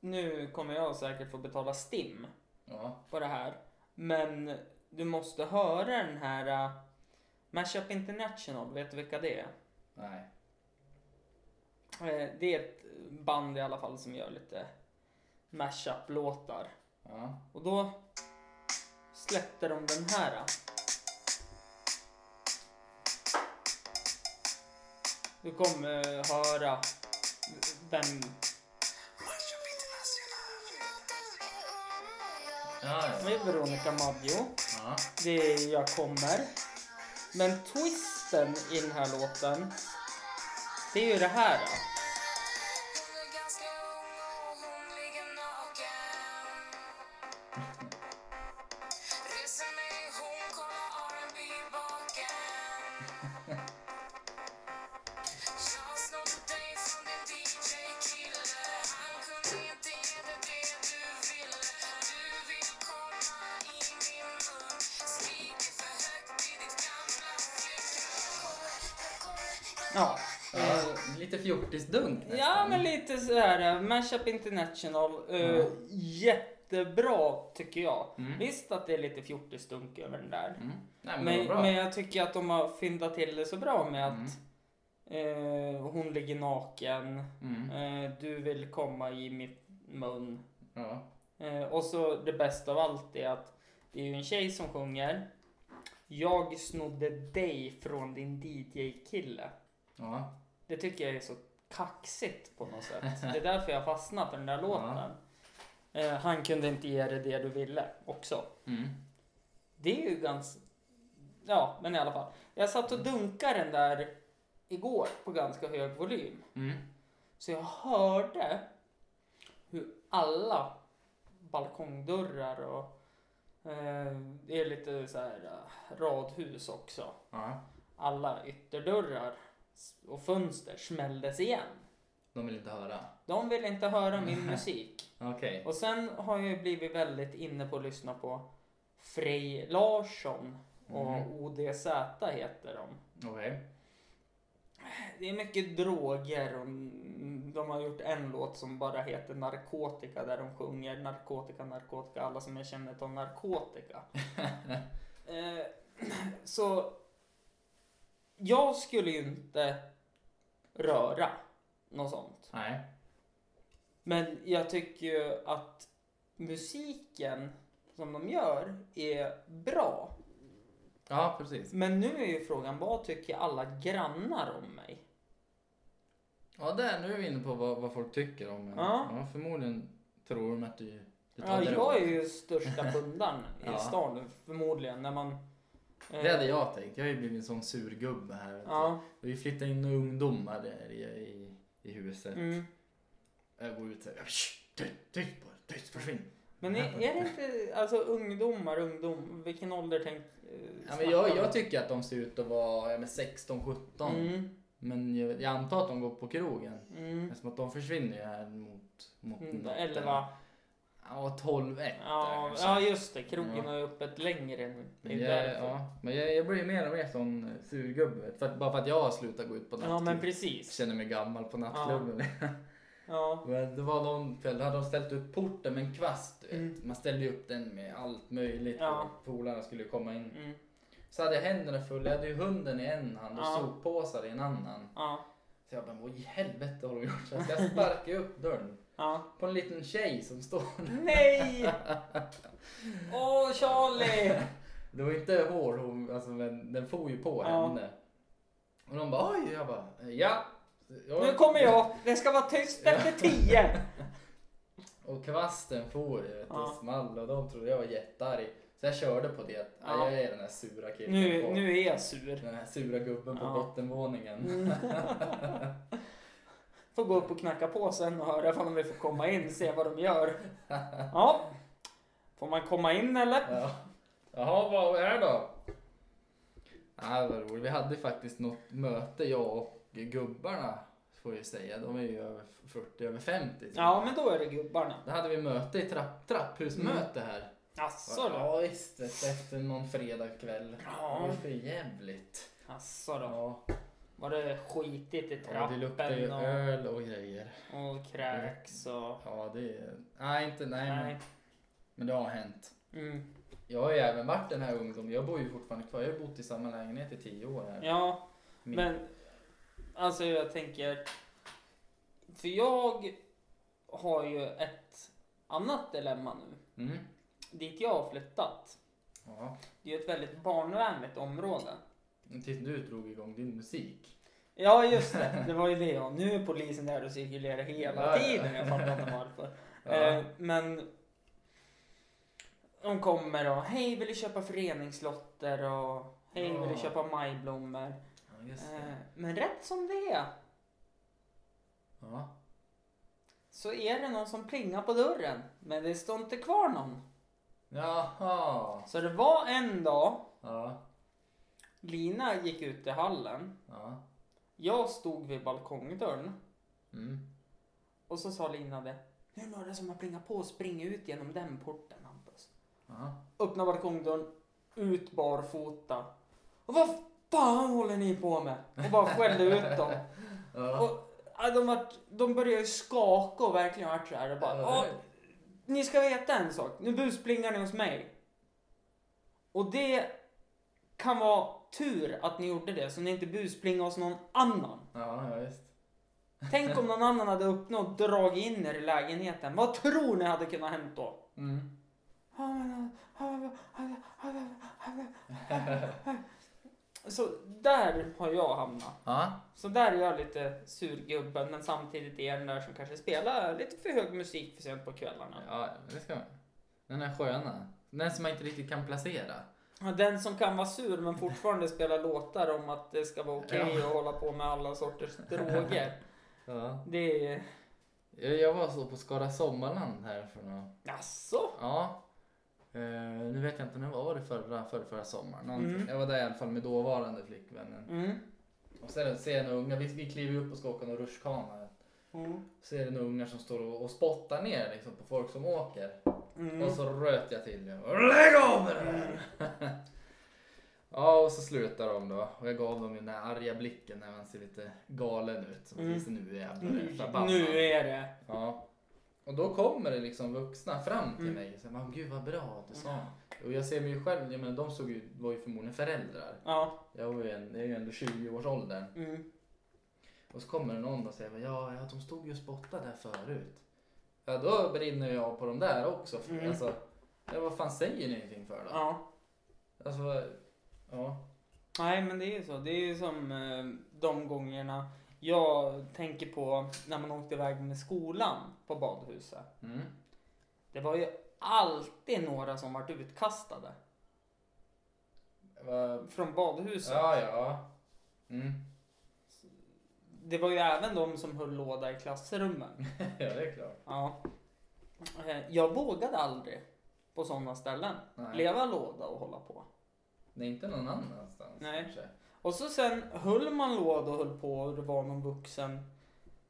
[SPEAKER 3] nu kommer jag säkert få betala STIM
[SPEAKER 2] ja.
[SPEAKER 3] på det här. Men du måste höra den här... Uh, Mashup International, vet du vilka det är?
[SPEAKER 2] Nej.
[SPEAKER 3] Eh, det är ett band i alla fall som gör lite mashup-låtar.
[SPEAKER 2] Ja.
[SPEAKER 3] Och då släppte de den här. eh. Du kommer eh, höra vem...
[SPEAKER 2] Ja.
[SPEAKER 3] Det är Veronica Maggio.
[SPEAKER 2] Ja.
[SPEAKER 3] Det är Jag kommer. Men twisten i den här låten, det är ju det här. eh. Ja. Eh,
[SPEAKER 2] Lite fjortisdunk nästan.
[SPEAKER 3] Ja, men lite så här. eh, Mashup International. eh,
[SPEAKER 2] Mm.
[SPEAKER 3] Jättebra tycker jag.
[SPEAKER 2] Mm.
[SPEAKER 3] Visst att det är lite fjortisdunk över den där.
[SPEAKER 2] Mm. Nej, men, det
[SPEAKER 3] Men,
[SPEAKER 2] var bra.
[SPEAKER 3] men jag tycker att de har fyndat till det så bra med
[SPEAKER 2] Mm.
[SPEAKER 3] att eh, hon ligger naken.
[SPEAKER 2] Mm.
[SPEAKER 3] Eh, du vill komma i mitt mun.
[SPEAKER 2] Ja.
[SPEAKER 3] Eh, och så det bästa av allt är att det är ju en tjej som sjunger. Jag snodde dig från din DJ-kille.
[SPEAKER 2] Ja.
[SPEAKER 3] Det tycker jag är så kaxigt på något sätt. Det är därför jag fastnat för den där låten. Eh, han kunde inte ge dig det du ville också.
[SPEAKER 2] Mm.
[SPEAKER 3] Det är ju ganska... Ja, men i alla fall. Jag satt och dunkade den där igår på ganska hög volym.
[SPEAKER 2] Mm.
[SPEAKER 3] Så jag hörde hur alla balkongdörrar och eh, det är lite så här eh, radhus också.
[SPEAKER 2] Ja.
[SPEAKER 3] Alla ytterdörrar och fönster smälldes igen.
[SPEAKER 2] De vill inte höra.
[SPEAKER 3] De vill inte höra min musik.
[SPEAKER 2] Okej.
[SPEAKER 3] Och sen har jag ju blivit väldigt inne på att lyssna på Frej Larsson och
[SPEAKER 2] Mhm.
[SPEAKER 3] ODZ heter de.
[SPEAKER 2] Okej.
[SPEAKER 3] Det är mycket droger och mm, de har gjort en låt som bara heter Narkotika där de sjunger narkotika, narkotika, alla som jag känner tar narkotika. eh, så jag skulle ju inte röra något sånt.
[SPEAKER 2] Nej.
[SPEAKER 3] Men jag tycker ju att musiken som de gör är bra.
[SPEAKER 2] Ja, precis.
[SPEAKER 3] Men nu är ju frågan, vad tycker alla grannar om mig?
[SPEAKER 2] Ja, där nu är vi inne på vad, vad folk tycker om en.
[SPEAKER 3] Ja.
[SPEAKER 2] Förmodligen tror de att du, du
[SPEAKER 3] Ja,
[SPEAKER 2] det
[SPEAKER 3] jag
[SPEAKER 2] lugnt.
[SPEAKER 3] är ju största pundan i
[SPEAKER 2] Ja.
[SPEAKER 3] stan nu, förmodligen när man... eh,
[SPEAKER 2] Det hade jag tänkt. Jag har ju blivit en sån surgubbe här. vet du.
[SPEAKER 3] Ja,
[SPEAKER 2] Vi flyttar in några ungdomar där i, i, i huset.
[SPEAKER 3] mm.
[SPEAKER 2] Jag går ut såhär. Tyst, tyst på det. Tyst, försvinn.
[SPEAKER 3] Men är, är det inte, alltså ungdomar, ungdom, vilken ålder tänk... eh,
[SPEAKER 2] Ja, men jag,
[SPEAKER 3] snackar
[SPEAKER 2] jag
[SPEAKER 3] vi?
[SPEAKER 2] tycker att de ser ut att vara ja, men 16, 17.
[SPEAKER 3] Mm,
[SPEAKER 2] Men jag, jag antar att de går på krogen.
[SPEAKER 3] mm,
[SPEAKER 2] Eftersom att de försvinner ju här mot... mot
[SPEAKER 3] mm,
[SPEAKER 2] natten.
[SPEAKER 3] elva.
[SPEAKER 2] Ja, 12, 1
[SPEAKER 3] Ja, ja, just det, krogen har ju öppet längre nu. Det är
[SPEAKER 2] Men,
[SPEAKER 3] ju
[SPEAKER 2] jag,
[SPEAKER 3] därför.
[SPEAKER 2] ja, men jag, jag blir ju mer och mer sån eh, surgubbe. vet du. För att, bara för att jag har slutat gå ut på
[SPEAKER 3] ja,
[SPEAKER 2] nattklubben.
[SPEAKER 3] men precis.
[SPEAKER 2] känner mig gammal på nattklubben.
[SPEAKER 3] Ja.
[SPEAKER 2] Men det var någon kväll, då hade de ställt upp porten med en kvast. du vet.
[SPEAKER 3] Mm.
[SPEAKER 2] Man ställde ju upp den med allt möjligt.
[SPEAKER 3] Ja.
[SPEAKER 2] och Polarna skulle ju komma in.
[SPEAKER 3] Mm.
[SPEAKER 2] Så hade jag händerna fulla. Jag hade ju hunden i en hand och
[SPEAKER 3] Ja.
[SPEAKER 2] soppåsar i en annan.
[SPEAKER 3] Ja.
[SPEAKER 2] Så jag bara, vad i helvete har de gjort? Så jag sparkade ju upp dörren
[SPEAKER 3] Ja.
[SPEAKER 2] på en liten tjej som står
[SPEAKER 3] Nej! Åh, Charlie!
[SPEAKER 2] Det var inte hår, hon, alltså, men den for ju på
[SPEAKER 3] Ja.
[SPEAKER 2] henne. Och de bara oj, jag bara ja. Jag,
[SPEAKER 3] Nu kommer jag! Det ska vara tyst efter tio!
[SPEAKER 2] Och kvasten for ju, vet du,
[SPEAKER 3] Ja.
[SPEAKER 2] small och de trodde jag var jättearg. Så jag körde på det. att,
[SPEAKER 3] Ja.
[SPEAKER 2] "Nej, Jag är den här sura killen
[SPEAKER 3] Nu,
[SPEAKER 2] på,
[SPEAKER 3] nu är jag sur.
[SPEAKER 2] den här sura gubben på
[SPEAKER 3] Ja.
[SPEAKER 2] bottenvåningen.
[SPEAKER 3] Får gå upp och knacka på sen och höra ifall de vill få komma in, se vad de gör. Ja. Får man komma in eller?
[SPEAKER 2] Ja. Jaha, vad är det då? Nej, vad roligt. Vi hade faktiskt något möte, jag och gubbarna, får jag säga. De är ju över 40, över 50. så.
[SPEAKER 3] Ja, men då är det gubbarna.
[SPEAKER 2] Då hade vi möte i trapp, trapphusmöte här.
[SPEAKER 3] Asså Mm. då.
[SPEAKER 2] Ja, visst. vet du, Efter någon fredagkväll.
[SPEAKER 3] Ja.
[SPEAKER 2] Det var för jävligt.
[SPEAKER 3] Asså då.
[SPEAKER 2] Ja,
[SPEAKER 3] Var det skitigt i
[SPEAKER 2] ja det
[SPEAKER 3] trappen
[SPEAKER 2] luktar ju
[SPEAKER 3] och,
[SPEAKER 2] öl och grejer.
[SPEAKER 3] och kräks och...
[SPEAKER 2] Ja, det är... Nej, inte... Nej,
[SPEAKER 3] Nej.
[SPEAKER 2] Men, men det har hänt.
[SPEAKER 3] Mm.
[SPEAKER 2] Jag har ju även varit den här ungdomen. Jag bor ju fortfarande kvar. Jag har bott i samma lägenhet i tio år här.
[SPEAKER 3] Ja,
[SPEAKER 2] Min-
[SPEAKER 3] Men alltså jag tänker. För jag har ju ett annat dilemma nu.
[SPEAKER 2] Mm.
[SPEAKER 3] Dit jag har flyttat.
[SPEAKER 2] Ja.
[SPEAKER 3] Det är ju ett väldigt barnvänligt område.
[SPEAKER 2] Men Tills du drog igång din musik.
[SPEAKER 3] Ja just det, det var ju det. ja. Nu är polisen där och cirkulerar
[SPEAKER 2] Ja,
[SPEAKER 3] hela
[SPEAKER 2] ja.
[SPEAKER 3] tiden. Jag fattar inte varför.
[SPEAKER 2] Ja.
[SPEAKER 3] Eh, men de kommer och hej vill du köpa föreningslotter och hej vill du
[SPEAKER 2] Ja.
[SPEAKER 3] köpa majblommor.
[SPEAKER 2] Ja, just
[SPEAKER 3] Eh,
[SPEAKER 2] det.
[SPEAKER 3] men rätt som det är
[SPEAKER 2] Ja.
[SPEAKER 3] så är det någon som plingar på dörren. Men det står inte kvar någon.
[SPEAKER 2] Jaha.
[SPEAKER 3] Så det var en dag,
[SPEAKER 2] Ja.
[SPEAKER 3] Lina gick ut i hallen.
[SPEAKER 2] Ja.
[SPEAKER 3] Jag stod vid balkongdörren.
[SPEAKER 2] Mm.
[SPEAKER 3] Och så sa Lina det. Nu är det några som har plingat på, spring ut genom den porten Hampus.
[SPEAKER 2] Ja.
[SPEAKER 3] Öppna balkongdörren, ut barfota. Och vad fan håller ni på med? Och bara skällde ut dem.
[SPEAKER 2] Ja.
[SPEAKER 3] Och ja, de, vart, de började ju skaka och verkligen vart såhär och bara. "Ja, Ni ska veta en sak. Nu busplingar ni hos mig. Och det kan vara tur att ni gjorde det så ni inte busplingade hos någon annan.
[SPEAKER 2] Ja, ja, visst.
[SPEAKER 3] Tänk om någon annan hade uppnått drag in er i lägenheten. Vad tror ni hade kunnat hänt då?
[SPEAKER 2] Mm.
[SPEAKER 3] Så där har jag hamnat.
[SPEAKER 2] Ja.
[SPEAKER 3] Så där är jag lite surgubben men samtidigt är jag den där som kanske spelar lite för hög musik för sent på kvällarna.
[SPEAKER 2] Ja, det ska man. Den är sköna. Den som man inte riktigt kan placera.
[SPEAKER 3] Ja, Den som kan vara sur men fortfarande spela låtar om att det ska vara okej
[SPEAKER 2] Ja.
[SPEAKER 3] att hålla på med alla sorters droger.
[SPEAKER 2] Ja.
[SPEAKER 3] Det är...
[SPEAKER 2] Jag jag var så på Skara Sommarland här för några...
[SPEAKER 3] Jaså?
[SPEAKER 2] Ja. Eh, nu vet jag inte, när var var det förra, förra, förra sommaren? Någonting.
[SPEAKER 3] Mm.
[SPEAKER 2] Jag var där i alla fall med dåvarande flickvännen.
[SPEAKER 3] Mm.
[SPEAKER 2] Och sen ser jag några unga, vi, vi kliver ju upp och ska åka någon rutschkana.
[SPEAKER 3] Mm.
[SPEAKER 2] Så är det några ungar som står och, och spottar ner liksom, på folk som åker.
[SPEAKER 3] Mm.
[SPEAKER 2] Och så röt jag till dem. Lägg av med det där! ja, och så slutar de då. Och jag gav dem ju den här arga blicken när man ser lite galen ut. Som
[SPEAKER 3] Mm.
[SPEAKER 2] mm. nu jävlar är jag
[SPEAKER 3] Nu-
[SPEAKER 2] förbannad.
[SPEAKER 3] Nu är det...
[SPEAKER 2] Ja. Och då kommer det liksom vuxna fram till
[SPEAKER 3] Mm.
[SPEAKER 2] mig. Och säger, "Men Gud vad bra att du sa. Och jag ser mig ju själv, jag menar, de såg ju, var ju förmodligen föräldrar.
[SPEAKER 3] Ja.
[SPEAKER 2] Jag var ju, en, jag är ju ändå 20-årsåldern.
[SPEAKER 3] Mm.
[SPEAKER 2] Och så kommer det någon och säger ja, ja de stod ju och spottade där förut. Ja då brinner jag på de där också. För,
[SPEAKER 3] Mm.
[SPEAKER 2] Alltså, ja, vad fan säger ni ingenting för då?
[SPEAKER 3] Ja.
[SPEAKER 2] Alltså, vad- ja.
[SPEAKER 3] Nej men det är ju så. Det är ju som eh, de gångerna jag tänker på när man åkte iväg med skolan på badhuset.
[SPEAKER 2] Mm.
[SPEAKER 3] Det var ju alltid några som vart utkastade.
[SPEAKER 2] Va,
[SPEAKER 3] Från badhuset.
[SPEAKER 2] ja, ja. Mm.
[SPEAKER 3] Det var ju även de som höll låda i klassrummen.
[SPEAKER 2] ja, det är klart.
[SPEAKER 3] Ja. Eh, Jag vågade aldrig på sådana ställen.
[SPEAKER 2] Nej.
[SPEAKER 3] Leva låda och hålla på.
[SPEAKER 2] Det är inte någon annanstans
[SPEAKER 3] Nej.
[SPEAKER 2] kanske.
[SPEAKER 3] Och så sen höll man låda och höll på och det var någon vuxen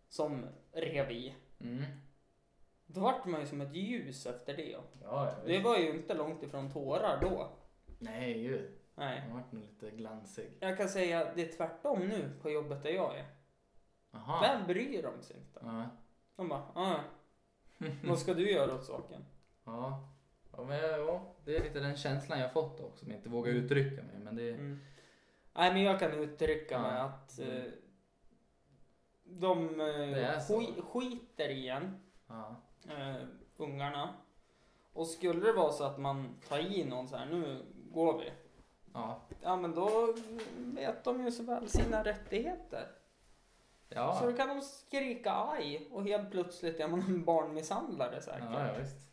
[SPEAKER 3] som rev i.
[SPEAKER 2] Mm.
[SPEAKER 3] Då vart man ju som ett ljus efter det.
[SPEAKER 2] Ja, jag
[SPEAKER 3] Det
[SPEAKER 2] vet.
[SPEAKER 3] var ju inte långt ifrån tårar då.
[SPEAKER 2] Nej, gud.
[SPEAKER 3] Nej.
[SPEAKER 2] Han vart nog lite glansig.
[SPEAKER 3] Jag kan säga att det är tvärtom nu på jobbet där jag är.
[SPEAKER 2] Jaha.
[SPEAKER 3] Där bryr de sig inte.
[SPEAKER 2] Ja.
[SPEAKER 3] De bara, ah, vad ska du göra åt saken?
[SPEAKER 2] ja. Ja, men, ja, det är lite den känslan jag fått också, som jag inte vågar uttrycka mig. Men det,
[SPEAKER 3] Mm. Nej men jag kan uttrycka
[SPEAKER 2] Ja.
[SPEAKER 3] mig att eh,
[SPEAKER 2] Mm.
[SPEAKER 3] de
[SPEAKER 2] Det
[SPEAKER 3] eh,
[SPEAKER 2] är så.
[SPEAKER 3] ski- skiter i en,
[SPEAKER 2] ja.
[SPEAKER 3] eh, ungarna. Och skulle det vara så att man tar i någon så här, nu går vi.
[SPEAKER 2] Ja.
[SPEAKER 3] Ja men då vet de ju så väl sina rättigheter.
[SPEAKER 2] Ja.
[SPEAKER 3] Så då kan de skrika aj och helt plötsligt är man en barnmisshandlare säkert.
[SPEAKER 2] Ja, ja, visst.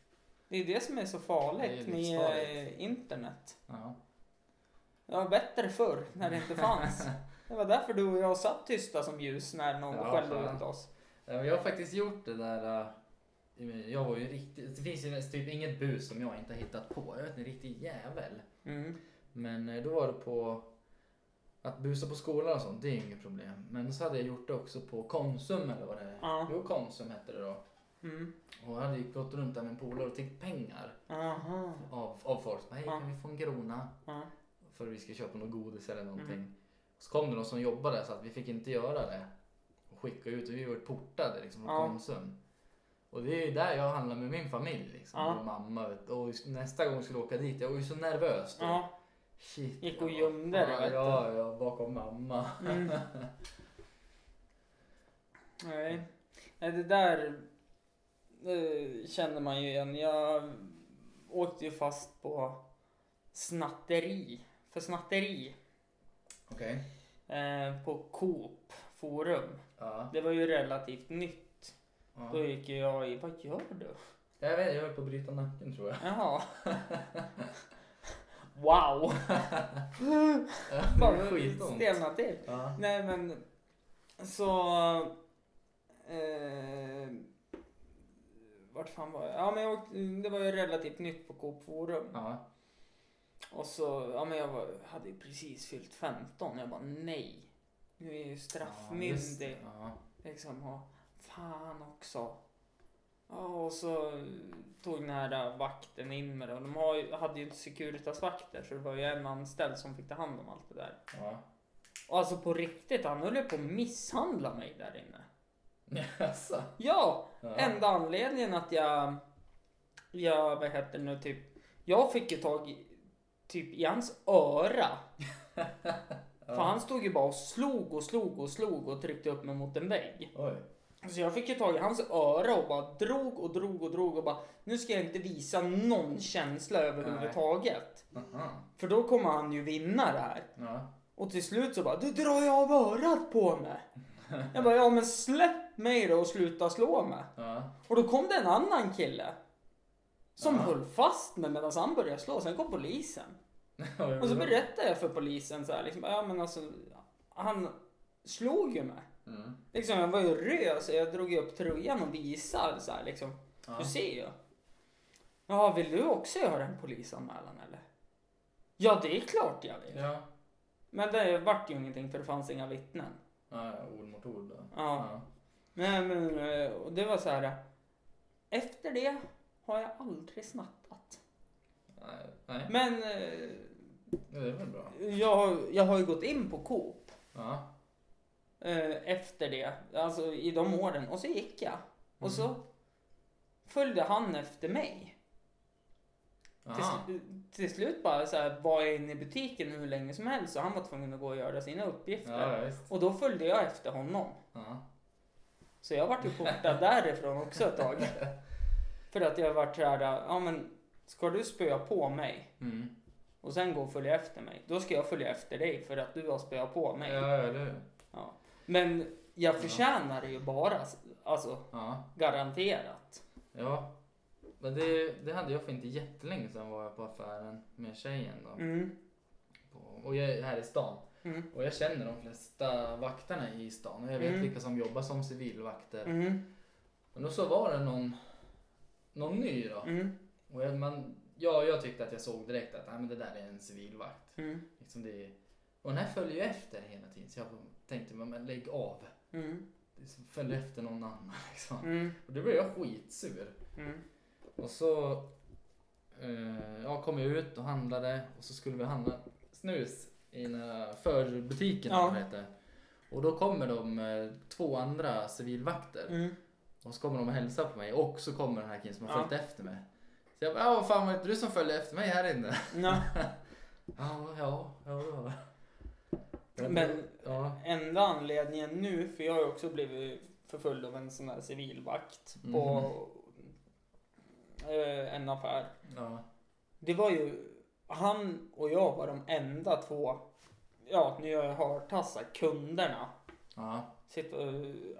[SPEAKER 3] Det är det som är så
[SPEAKER 2] Det är
[SPEAKER 3] farligt
[SPEAKER 2] ju
[SPEAKER 3] med
[SPEAKER 2] livsfarligt.
[SPEAKER 3] eh, internet.
[SPEAKER 2] Ja.
[SPEAKER 3] Det var bättre förr när det inte fanns. Det var därför du och jag satt tysta som ljus när någon
[SPEAKER 2] Ja,
[SPEAKER 3] skällde
[SPEAKER 2] fan.
[SPEAKER 3] ut oss.
[SPEAKER 2] Ja, men Eh, Jag har faktiskt gjort det där. äh, jag menar, Jag var ju riktigt, det finns ju typ inget bus som jag inte har hittat på. Jag vet inte, en riktig jävel.
[SPEAKER 3] Mm.
[SPEAKER 2] Men eh, då var det på att busa på skolan och sånt, det är ju inget problem. Men så hade jag gjort det också på Konsum eller vad det är.
[SPEAKER 3] Ja.
[SPEAKER 2] Jo, Konsum hette det då.
[SPEAKER 3] Mm.
[SPEAKER 2] Och jag hade ju gått runt där med en polare och tiggt pengar
[SPEAKER 3] Aha.
[SPEAKER 2] av, av folk. Så bara, Hej,
[SPEAKER 3] Ja.
[SPEAKER 2] kan vi få en krona?
[SPEAKER 3] Ja.
[SPEAKER 2] För vi ska köpa något godis eller någonting.
[SPEAKER 3] Mm.
[SPEAKER 2] Så kom det någon som jobbade så att vi fick inte göra det. Och skicka ut, och vi var portade liksom från
[SPEAKER 3] Ja.
[SPEAKER 2] Konsum. Och det är ju där jag handlar med min familj. Liksom.
[SPEAKER 3] Ja.
[SPEAKER 2] Och mamma. vet du. Och nästa gång jag skulle åka dit, jag var ju så nervös då.
[SPEAKER 3] Ja.
[SPEAKER 2] Shit,
[SPEAKER 3] Gick
[SPEAKER 2] jag
[SPEAKER 3] och
[SPEAKER 2] bara,
[SPEAKER 3] gömde det,
[SPEAKER 2] "Fan,
[SPEAKER 3] vet du."
[SPEAKER 2] Ja, ja, bakom mamma.
[SPEAKER 3] Mm. Nej. Nej, det där eh, känner man ju igen. Jag åkte ju fast på snatteri. För snatteri
[SPEAKER 2] Okej.
[SPEAKER 3] eh, på Coop Forum.
[SPEAKER 2] Ja.
[SPEAKER 3] Det var ju relativt nytt. Då
[SPEAKER 2] ja.
[SPEAKER 3] gick ju jag i, vad gör du?
[SPEAKER 2] Jag vet, jag höll på att bryta nacken tror jag.
[SPEAKER 3] Jaha. Wow!
[SPEAKER 2] Det är skitont.
[SPEAKER 3] Stelna till.
[SPEAKER 2] Ja.
[SPEAKER 3] Nej men så... Eh, vart fan var jag? Ja men jag åkte, det var ju relativt nytt på Coop Forum.
[SPEAKER 2] Ja.
[SPEAKER 3] Och så, ja men jag var, hade ju precis fyllt 15. Jag bara nej. Nu är jag
[SPEAKER 2] Ja, just
[SPEAKER 3] ju
[SPEAKER 2] det.
[SPEAKER 3] straffmyndig.
[SPEAKER 2] Ja.
[SPEAKER 3] liksom och fan också. Ja och så tog den här vakten in med det. Och de har ju, hade ju inte Securitas-vakter så det var ju en anställd som fick ta hand om allt det där.
[SPEAKER 2] Ja.
[SPEAKER 3] Och alltså på riktigt, han höll ju på att misshandla mig där inne.
[SPEAKER 2] Jaså?
[SPEAKER 3] Ja,
[SPEAKER 2] Ja.
[SPEAKER 3] enda anledningen att jag, jag, vad heter det nu, typ, jag fick ju tag i, typ i hans öra. För han stod ju bara och slog och slog och slog och tryckte upp mig mot en vägg.
[SPEAKER 2] Oj.
[SPEAKER 3] Så Alltså, jag fick ju tag i hans öra och bara drog och drog och drog och bara, nu ska jag inte visa någon känsla överhuvudtaget.
[SPEAKER 2] Aha.
[SPEAKER 3] För då kommer han ju vinna det här.
[SPEAKER 2] Ja.
[SPEAKER 3] Och till slut så bara, du drar jag av örat på mig. Jag bara, ja men släpp mig då och sluta slå mig.
[SPEAKER 2] Ja.
[SPEAKER 3] Och då kom det en annan kille. Som
[SPEAKER 2] Ja.
[SPEAKER 3] höll fast mig medan han började slå. Sen kom polisen. Och så berättade jag för polisen så här, liksom, ja men alltså. Han slog ju mig.
[SPEAKER 2] Mm.
[SPEAKER 3] Liksom jag var ju röd så jag drog ju upp tröjan och visade så här liksom.
[SPEAKER 2] Ja.
[SPEAKER 3] Du ser ju. Ja, vill du också göra en polisanmälan eller? Ja, det är klart jag vill.
[SPEAKER 2] Ja.
[SPEAKER 3] Men det vart ju ingenting för det fanns inga vittnen.
[SPEAKER 2] Ja, ja, ord mot ord då.
[SPEAKER 3] Ja. Nej men eh, och det var så här. Efter det har jag aldrig snattat.
[SPEAKER 2] Nej, nej.
[SPEAKER 3] Men eh,
[SPEAKER 2] Ja, det är väl bra.
[SPEAKER 3] jag, har- jag har ju gått in på Coop
[SPEAKER 2] Ja.
[SPEAKER 3] eh, efter det. Alltså i de åren. Och så gick jag. Och
[SPEAKER 2] Mm.
[SPEAKER 3] så följde han efter mig. Till,
[SPEAKER 2] Aha.
[SPEAKER 3] sl- till slut bara så här, var jag inne i butiken hur länge som helst. Så han var tvungen att gå och göra sina uppgifter.
[SPEAKER 2] Ja, ja, visst.
[SPEAKER 3] Och då följde jag efter honom.
[SPEAKER 2] Ja.
[SPEAKER 3] Så jag vart ju portad därifrån också ett tag. För att jag vart såhär, ja men ska du spöa på mig
[SPEAKER 2] Mm.
[SPEAKER 3] och sen gå och följa efter mig, då ska jag följa efter dig för att du har spöat på mig.
[SPEAKER 2] Ja, ja, du.
[SPEAKER 3] Ja. Men jag förtjänar det ju bara, alltså
[SPEAKER 2] Ja.
[SPEAKER 3] garanterat.
[SPEAKER 2] Ja. Men det, det hade jag för inte jättelänge sedan var jag på affären med tjejen då.
[SPEAKER 3] Mm.
[SPEAKER 2] På, och jag är här i stan.
[SPEAKER 3] Mm.
[SPEAKER 2] Och jag känner de flesta vakterna i stan och jag vet
[SPEAKER 3] Mm.
[SPEAKER 2] vilka som jobbar som civilvakter.
[SPEAKER 3] Mm.
[SPEAKER 2] Men då så var det någon, någon ny då.
[SPEAKER 3] Mm.
[SPEAKER 2] Och jag, man, ja, jag tyckte att jag såg direkt att ah, men det där är en civilvakt.
[SPEAKER 3] Mm.
[SPEAKER 2] Liksom det är, och den här följer ju efter hela tiden så jag tänkte men men lägg av.
[SPEAKER 3] Mm.
[SPEAKER 2] Följ efter någon annan liksom.
[SPEAKER 3] Mm.
[SPEAKER 2] Och då blev jag skitsur.
[SPEAKER 3] Mm.
[SPEAKER 2] Och så eh, jag kom jag ut och handlade och så skulle vi handla snus i den här förbutiken.
[SPEAKER 3] Ja.
[SPEAKER 2] eller vad det heter. Och då kommer de eh, två andra civilvakter.
[SPEAKER 3] Mm.
[SPEAKER 2] Och så kommer de och hälsar på mig och så kommer den här killen som har
[SPEAKER 3] Ja.
[SPEAKER 2] följt efter mig. Så jag bara, ja vad fan var det inte du som följde efter mig här inne?
[SPEAKER 3] Ja.
[SPEAKER 2] Ja, ja, ja. ja.
[SPEAKER 3] Men-
[SPEAKER 2] Ja,
[SPEAKER 3] Enda anledningen nu, för jag har ju också blivit förföljd av en sån där civilvakt på eh, en affär.
[SPEAKER 2] ja,
[SPEAKER 3] Det var ju, han och jag var de enda två, ja nu gör jag hartassa, kunderna.
[SPEAKER 2] ja.
[SPEAKER 3] Sitt, eh,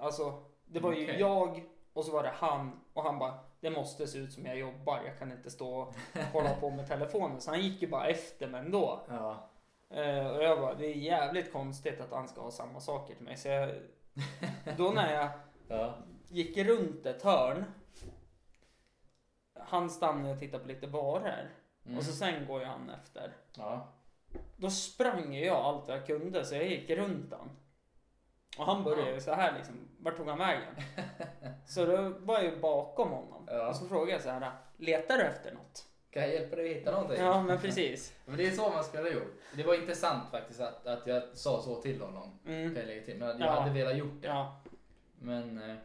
[SPEAKER 3] alltså, det var ju
[SPEAKER 2] Okej.
[SPEAKER 3] jag och så var det han och han bara, det måste se ut som jag jobbar, jag kan inte stå och hålla på med telefonen. Så han gick ju bara efter mig ändå.
[SPEAKER 2] ja.
[SPEAKER 3] Eh, och jag bara, det är jävligt konstigt att han ska ha samma saker till mig. Så jag, då när jag
[SPEAKER 2] Ja.
[SPEAKER 3] gick runt ett hörn. Han stannade och tittade på lite barer.
[SPEAKER 2] Mm.
[SPEAKER 3] Och så sen går ju han efter.
[SPEAKER 2] Ja.
[SPEAKER 3] Då sprang ju jag allt jag kunde så jag gick runt han. Och han började ju så här liksom, vart tog han vägen? Så då var jag ju bakom honom.
[SPEAKER 2] Ja.
[SPEAKER 3] Och så frågade jag så här, letar du efter något?
[SPEAKER 2] Kan jag hjälpa dig att hitta någonting?
[SPEAKER 3] Ja men precis.
[SPEAKER 2] Men det är så man skulle ha gjort. Det var intressant faktiskt att, att jag sa så till honom. Kan
[SPEAKER 3] Mm.
[SPEAKER 2] jag lägga till. Men jag
[SPEAKER 3] Ja.
[SPEAKER 2] hade velat gjort det.
[SPEAKER 3] Ja.
[SPEAKER 2] Men... Eh,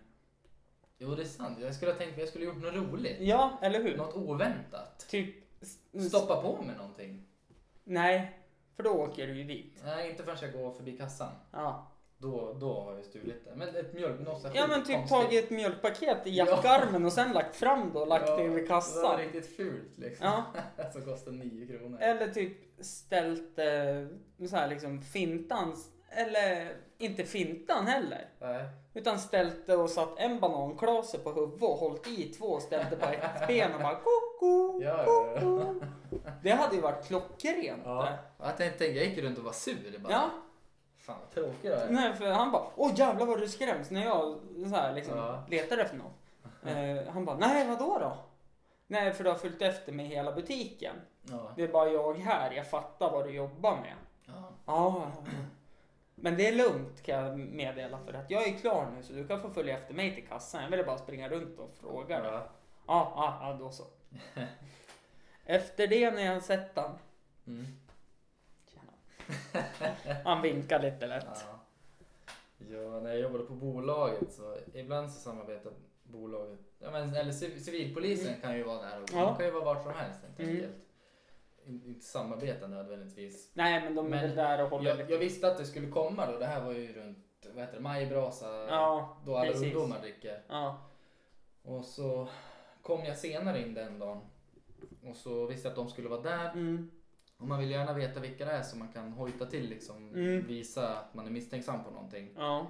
[SPEAKER 2] jo, det är sant. Jag skulle ha tänkt att jag skulle ha gjort något roligt.
[SPEAKER 3] ja, eller hur?
[SPEAKER 2] Något oväntat.
[SPEAKER 3] Typ... s-
[SPEAKER 2] Stoppa på med någonting.
[SPEAKER 3] Nej, för då åker du ju dit.
[SPEAKER 2] Nej, inte förrän jag går förbi kassan.
[SPEAKER 3] Ja,
[SPEAKER 2] Då, då har jag stulit det. Men ett mjölk, något så här
[SPEAKER 3] ja men
[SPEAKER 2] sjukt
[SPEAKER 3] typ
[SPEAKER 2] konstigt.
[SPEAKER 3] tagit ett mjölkpaket i
[SPEAKER 2] Ja.
[SPEAKER 3] jackarmen och sen lagt fram det och lagt det över
[SPEAKER 2] Det var
[SPEAKER 3] kassan.
[SPEAKER 2] riktigt fult liksom.
[SPEAKER 3] Ja.
[SPEAKER 2] Som kostar 9 kronor.
[SPEAKER 3] Eller typ ställt eh, så här liksom fintan, eller inte fintan heller.
[SPEAKER 2] Nej.
[SPEAKER 3] Utan ställt det och satt en bananklase på huvudet och hållit i två och ställt det på ett ben och bara koko,
[SPEAKER 2] Ja, ja, ja.
[SPEAKER 3] koko. Det hade ju varit klockrent.
[SPEAKER 2] Ja.
[SPEAKER 3] Ja.
[SPEAKER 2] Jag tänkte, jag gick runt och var sur. Bara,
[SPEAKER 3] ja.
[SPEAKER 2] Fan vad tråkig jag är.
[SPEAKER 3] Nej, för han bara åh jävlar vad du skräms när jag så här, liksom,
[SPEAKER 2] Ja.
[SPEAKER 3] letar efter något. Eh, han bara nej vadå då? Nej för du har följt efter mig i hela butiken.
[SPEAKER 2] Ja.
[SPEAKER 3] Det är bara jag här, jag fattar vad du jobbar med.
[SPEAKER 2] Ja.
[SPEAKER 3] Ja. Men det är lugnt kan jag meddela för att jag är klar nu så du kan få följa efter mig till kassan. Jag ville bara springa runt och fråga. Ja,
[SPEAKER 2] Ja.
[SPEAKER 3] ja, ja då så. Efter det när jag sett han.
[SPEAKER 2] Mm.
[SPEAKER 3] Tjena. Han vinkar lite lätt.
[SPEAKER 2] Ja. ja, när jag jobbade på bolaget så ibland så samarbetar bolaget, ja, men, eller civ- civilpolisen kan ju vara där och
[SPEAKER 3] Ja.
[SPEAKER 2] de kan ju vara vart som helst helt
[SPEAKER 3] Mm.
[SPEAKER 2] enkelt. In- Inte samarbeta nödvändigtvis.
[SPEAKER 3] Nej men de är
[SPEAKER 2] Men
[SPEAKER 3] väl där och håller
[SPEAKER 2] Jag,
[SPEAKER 3] lite.
[SPEAKER 2] jag visste att det skulle komma då, det här var ju runt vad heter det, majbrasa
[SPEAKER 3] Ja,
[SPEAKER 2] då alla
[SPEAKER 3] precis.
[SPEAKER 2] ungdomar dricker.
[SPEAKER 3] Ja.
[SPEAKER 2] Och så kom jag senare in den dagen och så visste jag att de skulle vara där
[SPEAKER 3] Mm.
[SPEAKER 2] och man vill gärna veta vilka det är så man kan hojta till liksom,
[SPEAKER 3] Mm.
[SPEAKER 2] visa att man är misstänksam på någonting.
[SPEAKER 3] Ja.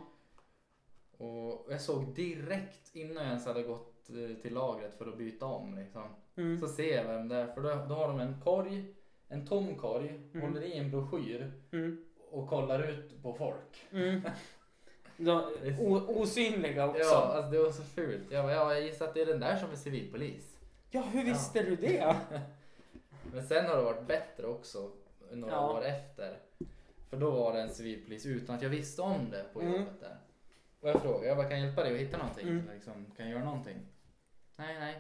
[SPEAKER 2] Och jag såg direkt innan jag ens hade gått eh, till lagret för att byta om liksom.
[SPEAKER 3] Mm.
[SPEAKER 2] Så ser jag vem det är för då, då har de en korg, en tom korg,
[SPEAKER 3] Mm.
[SPEAKER 2] håller i en broschyr
[SPEAKER 3] Mm.
[SPEAKER 2] och kollar ut på folk.
[SPEAKER 3] Mm. De, o, osynliga också.
[SPEAKER 2] Ja,
[SPEAKER 3] Ja,
[SPEAKER 2] alltså det var så fult. Jag bara, ja, jag gissar att det är den där som är civilpolis.
[SPEAKER 3] hur
[SPEAKER 2] Ja.
[SPEAKER 3] visste du det?
[SPEAKER 2] Men sen har det varit bättre också några
[SPEAKER 3] Ja.
[SPEAKER 2] år efter. För då var det en civilpolis utan att jag visste om det på
[SPEAKER 3] Mm.
[SPEAKER 2] jobbet där. Och jag frågade, jag bara, kan jag hjälpa dig att hitta någonting?
[SPEAKER 3] Mm.
[SPEAKER 2] Liksom, kan jag göra någonting? Nej, nej.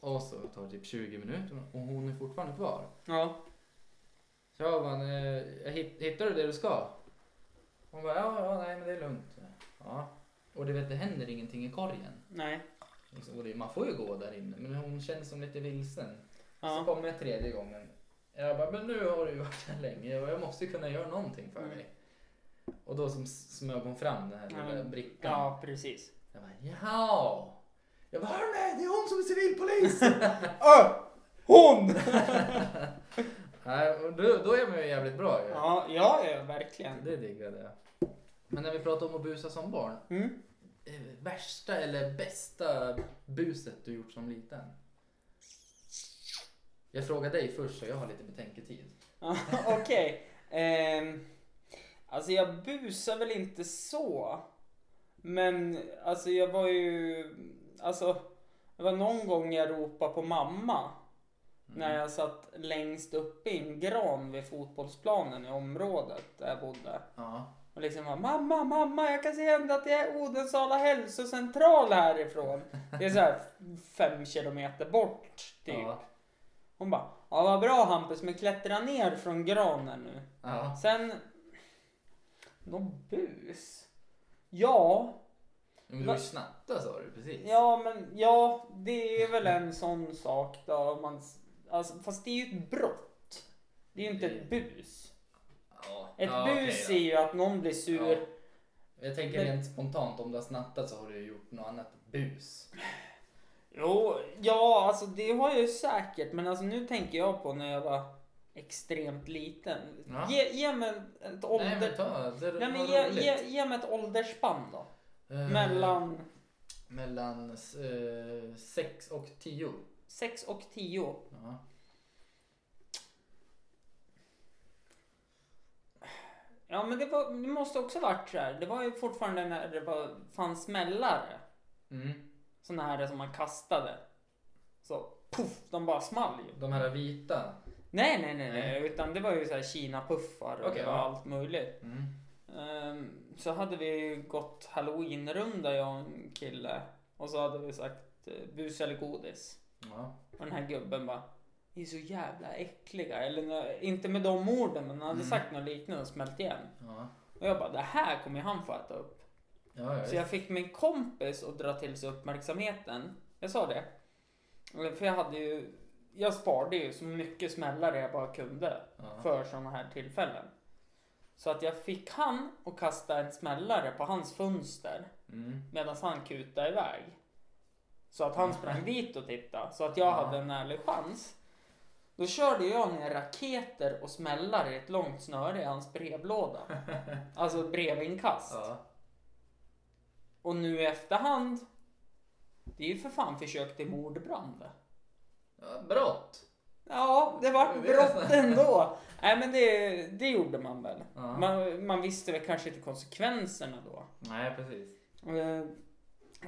[SPEAKER 2] Och så tar det typ 20 minuter och hon är fortfarande kvar.
[SPEAKER 3] Ja.
[SPEAKER 2] Så jag bara, eh, jag hitt- hittar du det du ska? Hon bara, ja, ja, nej men det är lugnt. Ja. Och du vet, det händer ingenting i korgen.
[SPEAKER 3] Nej.
[SPEAKER 2] Liksom, Och det, man får ju gå där inne, men hon känns som lite vilsen. Så
[SPEAKER 3] Ja.
[SPEAKER 2] kom jag tredje gången. Jag bara, men nu har du ju varit här länge och jag måste ju kunna göra någonting för
[SPEAKER 3] Mm.
[SPEAKER 2] dig. Och då som smög hon fram den här
[SPEAKER 3] Ja,
[SPEAKER 2] lilla
[SPEAKER 3] men-
[SPEAKER 2] brickan.
[SPEAKER 3] Ja, precis.
[SPEAKER 2] Jag bara, ja. Jag bara, hörni, det är hon som är civilpolis!
[SPEAKER 3] Ö! Hon!
[SPEAKER 2] Nej, och då, då är man ju jävligt bra ju.
[SPEAKER 3] Ja, ja, ja verkligen.
[SPEAKER 2] Det diggade jag. Men när vi pratar om att busa som barn.
[SPEAKER 3] Mm.
[SPEAKER 2] eh, Värsta eller bästa buset du gjort som liten? Jag frågar dig först så jag har lite betänketid.
[SPEAKER 3] Ja, Okej. Ehm, alltså jag busar väl inte så. Men alltså jag var ju, alltså det var någon gång jag ropade på mamma. När jag satt längst uppe i en gran vid fotbollsplanen i området där jag bodde.
[SPEAKER 2] Ja.
[SPEAKER 3] Och liksom bara, mamma, mamma, jag kan se ända till Odensala hälsocentral härifrån. Det är så här fem kilometer bort typ.
[SPEAKER 2] Ja.
[SPEAKER 3] Hon bara, ja vad bra Hampus, men klättra ner från granen nu.
[SPEAKER 2] ja.
[SPEAKER 3] Sen, någon bus? Ja,
[SPEAKER 2] Men du
[SPEAKER 3] Va-
[SPEAKER 2] har ju snatta sa du precis.
[SPEAKER 3] ja men ja, det är väl en sån sak då. om Man, s- alltså, fast det är ju ett brott. Det är ju inte ett bus.
[SPEAKER 2] Ja.
[SPEAKER 3] Ett
[SPEAKER 2] Ja, okej
[SPEAKER 3] bus
[SPEAKER 2] då.
[SPEAKER 3] är ju att någon blir sur.
[SPEAKER 2] Ja. Jag tänker
[SPEAKER 3] Men-
[SPEAKER 2] rent spontant om du har snattat så har du ju gjort något annat bus.
[SPEAKER 3] Jo, ja alltså det har jag ju säkert men alltså nu tänker jag på när jag var extremt liten.
[SPEAKER 2] Ja.
[SPEAKER 3] Ge, ge mig ett
[SPEAKER 2] Nej men
[SPEAKER 3] ålder...
[SPEAKER 2] ta det.
[SPEAKER 3] Nej, men
[SPEAKER 2] var
[SPEAKER 3] ge,
[SPEAKER 2] roligt.
[SPEAKER 3] ge, ge mig ett åldersspann då.
[SPEAKER 2] Eh,
[SPEAKER 3] Mellan
[SPEAKER 2] Mellan 6 och 10.
[SPEAKER 3] 6 och 10.
[SPEAKER 2] Ja.
[SPEAKER 3] Ja, Ja men det, var, det måste också varit så här. Det var ju fortfarande när det var, fanns smällare.
[SPEAKER 2] Mm.
[SPEAKER 3] Såna här som man kastade. Så puff, de bara small ju.
[SPEAKER 2] De här vita.
[SPEAKER 3] Nej nej nej, nej. utan det var ju så här Kina-puffar och
[SPEAKER 2] Okej,
[SPEAKER 3] det var
[SPEAKER 2] ja.
[SPEAKER 3] allt möjligt.
[SPEAKER 2] Mm.
[SPEAKER 3] Ehm, så hade vi ju gått halloweenrunda jag och en kille. Och så hade vi sagt eh, bus eller godis.
[SPEAKER 2] Ja.
[SPEAKER 3] Och den här gubben bara Ni är så jävla äckliga. Eller nå- inte med de orden men han hade
[SPEAKER 2] Mm.
[SPEAKER 3] sagt något liknande och smält igen.
[SPEAKER 2] Ja.
[SPEAKER 3] Och jag bara det här kommer ju han få äta upp.
[SPEAKER 2] Ja, ja,
[SPEAKER 3] Så jag fick min kompis att dra till sig uppmärksamheten. Jag sa det. Eller, För jag hade ju Jag sparade ju så mycket smällare jag bara kunde.
[SPEAKER 2] ja.
[SPEAKER 3] För sådana här tillfällen. Så att jag fick han att kasta en smällare på hans fönster.
[SPEAKER 2] Mm.
[SPEAKER 3] Medan han kutade iväg. Så att han sprang dit och tittade. Så att jag
[SPEAKER 2] Ja.
[SPEAKER 3] hade en ärlig chans. Då körde jag ner raketer och smällare i ett långt snöre i hans brevlåda. Alltså ett brevinkast.
[SPEAKER 2] Ja.
[SPEAKER 3] Och nu i efterhand. Det är ju för fan försök till mordbrand.
[SPEAKER 2] ja. Brott.
[SPEAKER 3] Ja, det var
[SPEAKER 2] Det är
[SPEAKER 3] brott
[SPEAKER 2] så.
[SPEAKER 3] ändå. Nej men det, det gjorde man väl.
[SPEAKER 2] Ja.
[SPEAKER 3] Man, man visste väl kanske inte konsekvenserna då.
[SPEAKER 2] Nej, precis.
[SPEAKER 3] Eh,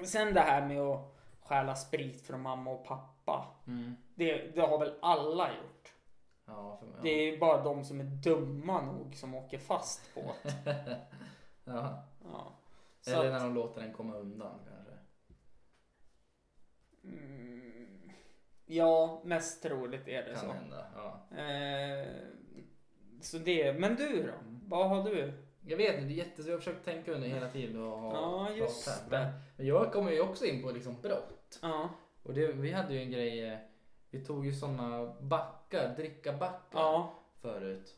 [SPEAKER 3] Sen det här med att stjäla sprit från mamma och pappa.
[SPEAKER 2] Mm.
[SPEAKER 3] Det, det har väl alla gjort.
[SPEAKER 2] Ja, för mig.
[SPEAKER 3] Det är ju bara de som är dumma nog som åker fast på det.
[SPEAKER 2] Ja.
[SPEAKER 3] Ja. Så
[SPEAKER 2] Eller
[SPEAKER 3] att,
[SPEAKER 2] när de låter den komma undan kanske.
[SPEAKER 3] mm, ja, mest troligt är det
[SPEAKER 2] Kan
[SPEAKER 3] så.
[SPEAKER 2] hända. Ja.
[SPEAKER 3] Eh, så det, men du då?
[SPEAKER 2] Mm.
[SPEAKER 3] Vad har du?
[SPEAKER 2] Jag vet inte, det är jättesvårt. Jag har försökt tänka under hela tiden och ha
[SPEAKER 3] Ja, just
[SPEAKER 2] pratat här.
[SPEAKER 3] det.
[SPEAKER 2] Men- Men jag kommer ju också in på liksom brott.
[SPEAKER 3] Ja,
[SPEAKER 2] Och det, vi hade ju en grej, eh, vi tog ju sådana backar, drickabackar
[SPEAKER 3] ja,
[SPEAKER 2] förut.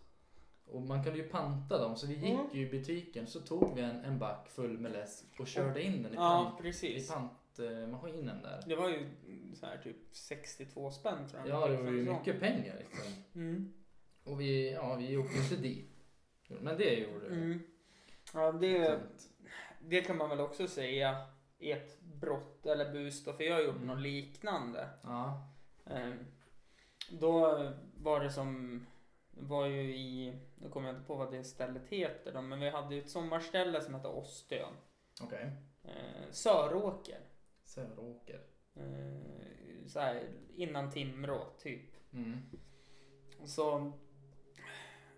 [SPEAKER 2] Och man kunde ju panta dem, så vi gick
[SPEAKER 3] Mm.
[SPEAKER 2] ju i butiken så tog vi en, en back full med läsk och körde in den i,
[SPEAKER 3] ja
[SPEAKER 2] pant, i
[SPEAKER 3] precis.
[SPEAKER 2] pantmaskinen där.
[SPEAKER 3] Det var ju så här typ 62 spänn tror jag.
[SPEAKER 2] Ja, det var ju
[SPEAKER 3] Från-
[SPEAKER 2] mycket pengar liksom.
[SPEAKER 3] Mm.
[SPEAKER 2] Och vi, ja, vi åkte inte dit. Men det gjorde vi.
[SPEAKER 3] Mm. Ja, det,
[SPEAKER 2] Sånt.
[SPEAKER 3] det kan man väl också säga är ett brott eller bus då, för jag har gjort
[SPEAKER 2] Mm.
[SPEAKER 3] något liknande.
[SPEAKER 2] Ja.
[SPEAKER 3] Ehm, Då var det som, var ju i, nu kommer jag inte på vad det stället heter då, men vi hade ju ett sommarställe som hette Åstön.
[SPEAKER 2] Okej.
[SPEAKER 3] Ehm, Söråker.
[SPEAKER 2] Söråker.
[SPEAKER 3] Ehm, Så här, innan Timrå typ.
[SPEAKER 2] Mm.
[SPEAKER 3] Så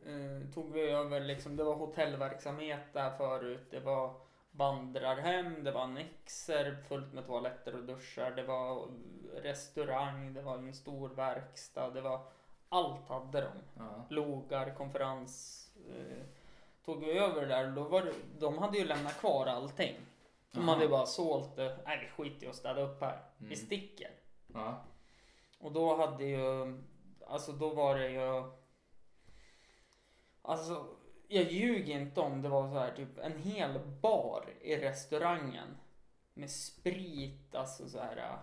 [SPEAKER 3] eh, tog vi över liksom, det var hotellverksamhet där förut. Det var vandrarhem, det var annexer fullt med toaletter och duschar. Det var restaurang, det var en stor verkstad. Det var allt hade de.
[SPEAKER 2] Ja.
[SPEAKER 3] Logar, konferens. Eh, tog vi över det där och då var det, de hade ju lämnat kvar allting. De
[SPEAKER 2] Aha.
[SPEAKER 3] hade ju bara sålt det. Nej, vi skiter i att städa upp här. Vi
[SPEAKER 2] Mm.
[SPEAKER 3] sticker.
[SPEAKER 2] Ja.
[SPEAKER 3] Och då hade ju, alltså då var det ju, alltså jag ljuger inte om det var så här typ en hel bar i restaurangen med sprit, alltså så här äh,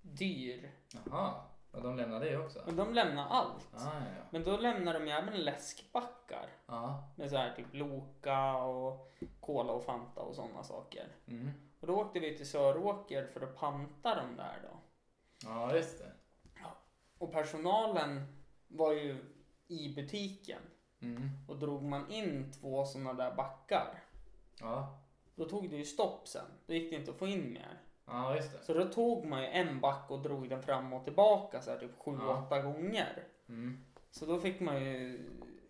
[SPEAKER 3] dyr.
[SPEAKER 2] Jaha. Ja, de lämnade det också?
[SPEAKER 3] Men de lämnade allt.
[SPEAKER 2] Ah, ja, ja.
[SPEAKER 3] Men då lämnade de ju även läskbackar
[SPEAKER 2] Ja.
[SPEAKER 3] med så här typ Loka och Cola och Fanta och sådana saker.
[SPEAKER 2] Mm.
[SPEAKER 3] Och då åkte vi till Söråker för att panta de där då.
[SPEAKER 2] ja, just det.
[SPEAKER 3] Och personalen var ju i butiken.
[SPEAKER 2] Mm.
[SPEAKER 3] Och drog man in två sådana där backar,
[SPEAKER 2] Ja.
[SPEAKER 3] då tog det ju stopp sen. Då gick det inte att få in mer.
[SPEAKER 2] ja, just det.
[SPEAKER 3] Så då tog man ju en back och drog den fram och tillbaka så här typ sju,
[SPEAKER 2] Ja.
[SPEAKER 3] åtta gånger.
[SPEAKER 2] Mm.
[SPEAKER 3] Så då fick man ju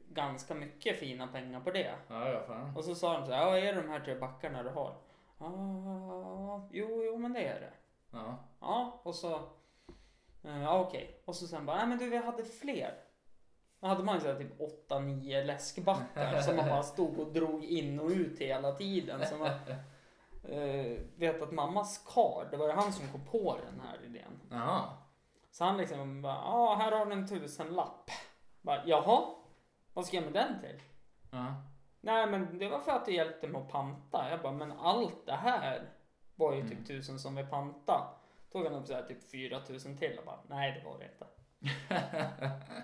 [SPEAKER 3] ganska mycket fina pengar på det.
[SPEAKER 2] Ja, ja, fan.
[SPEAKER 3] Och så sa de så här, "Ja, är det de här tre backarna du har? Ja, jo, jo, men det är det.
[SPEAKER 2] Ja.
[SPEAKER 3] Ja, och så... eh, Ja, okej. Och så sen bara, nej men du, vi hade fler. Då hade man ju så här typ 8-9 läskbackar som man bara stod och drog in och ut hela tiden. Så man, eh, vet att mammas kar, det var ju han som kom på den här idén.
[SPEAKER 2] Jaha.
[SPEAKER 3] Så han liksom bara, ja här har du en tusenlapp. Bara, Jaha, vad ska jag med den till?
[SPEAKER 2] Ja.
[SPEAKER 3] Nej men det var för att du hjälpte mig att panta. Jag bara, men allt det här var ju
[SPEAKER 2] Mm.
[SPEAKER 3] typ tusen som vi panta. Tog han upp så här typ 4000 till och bara, nej det var det inte.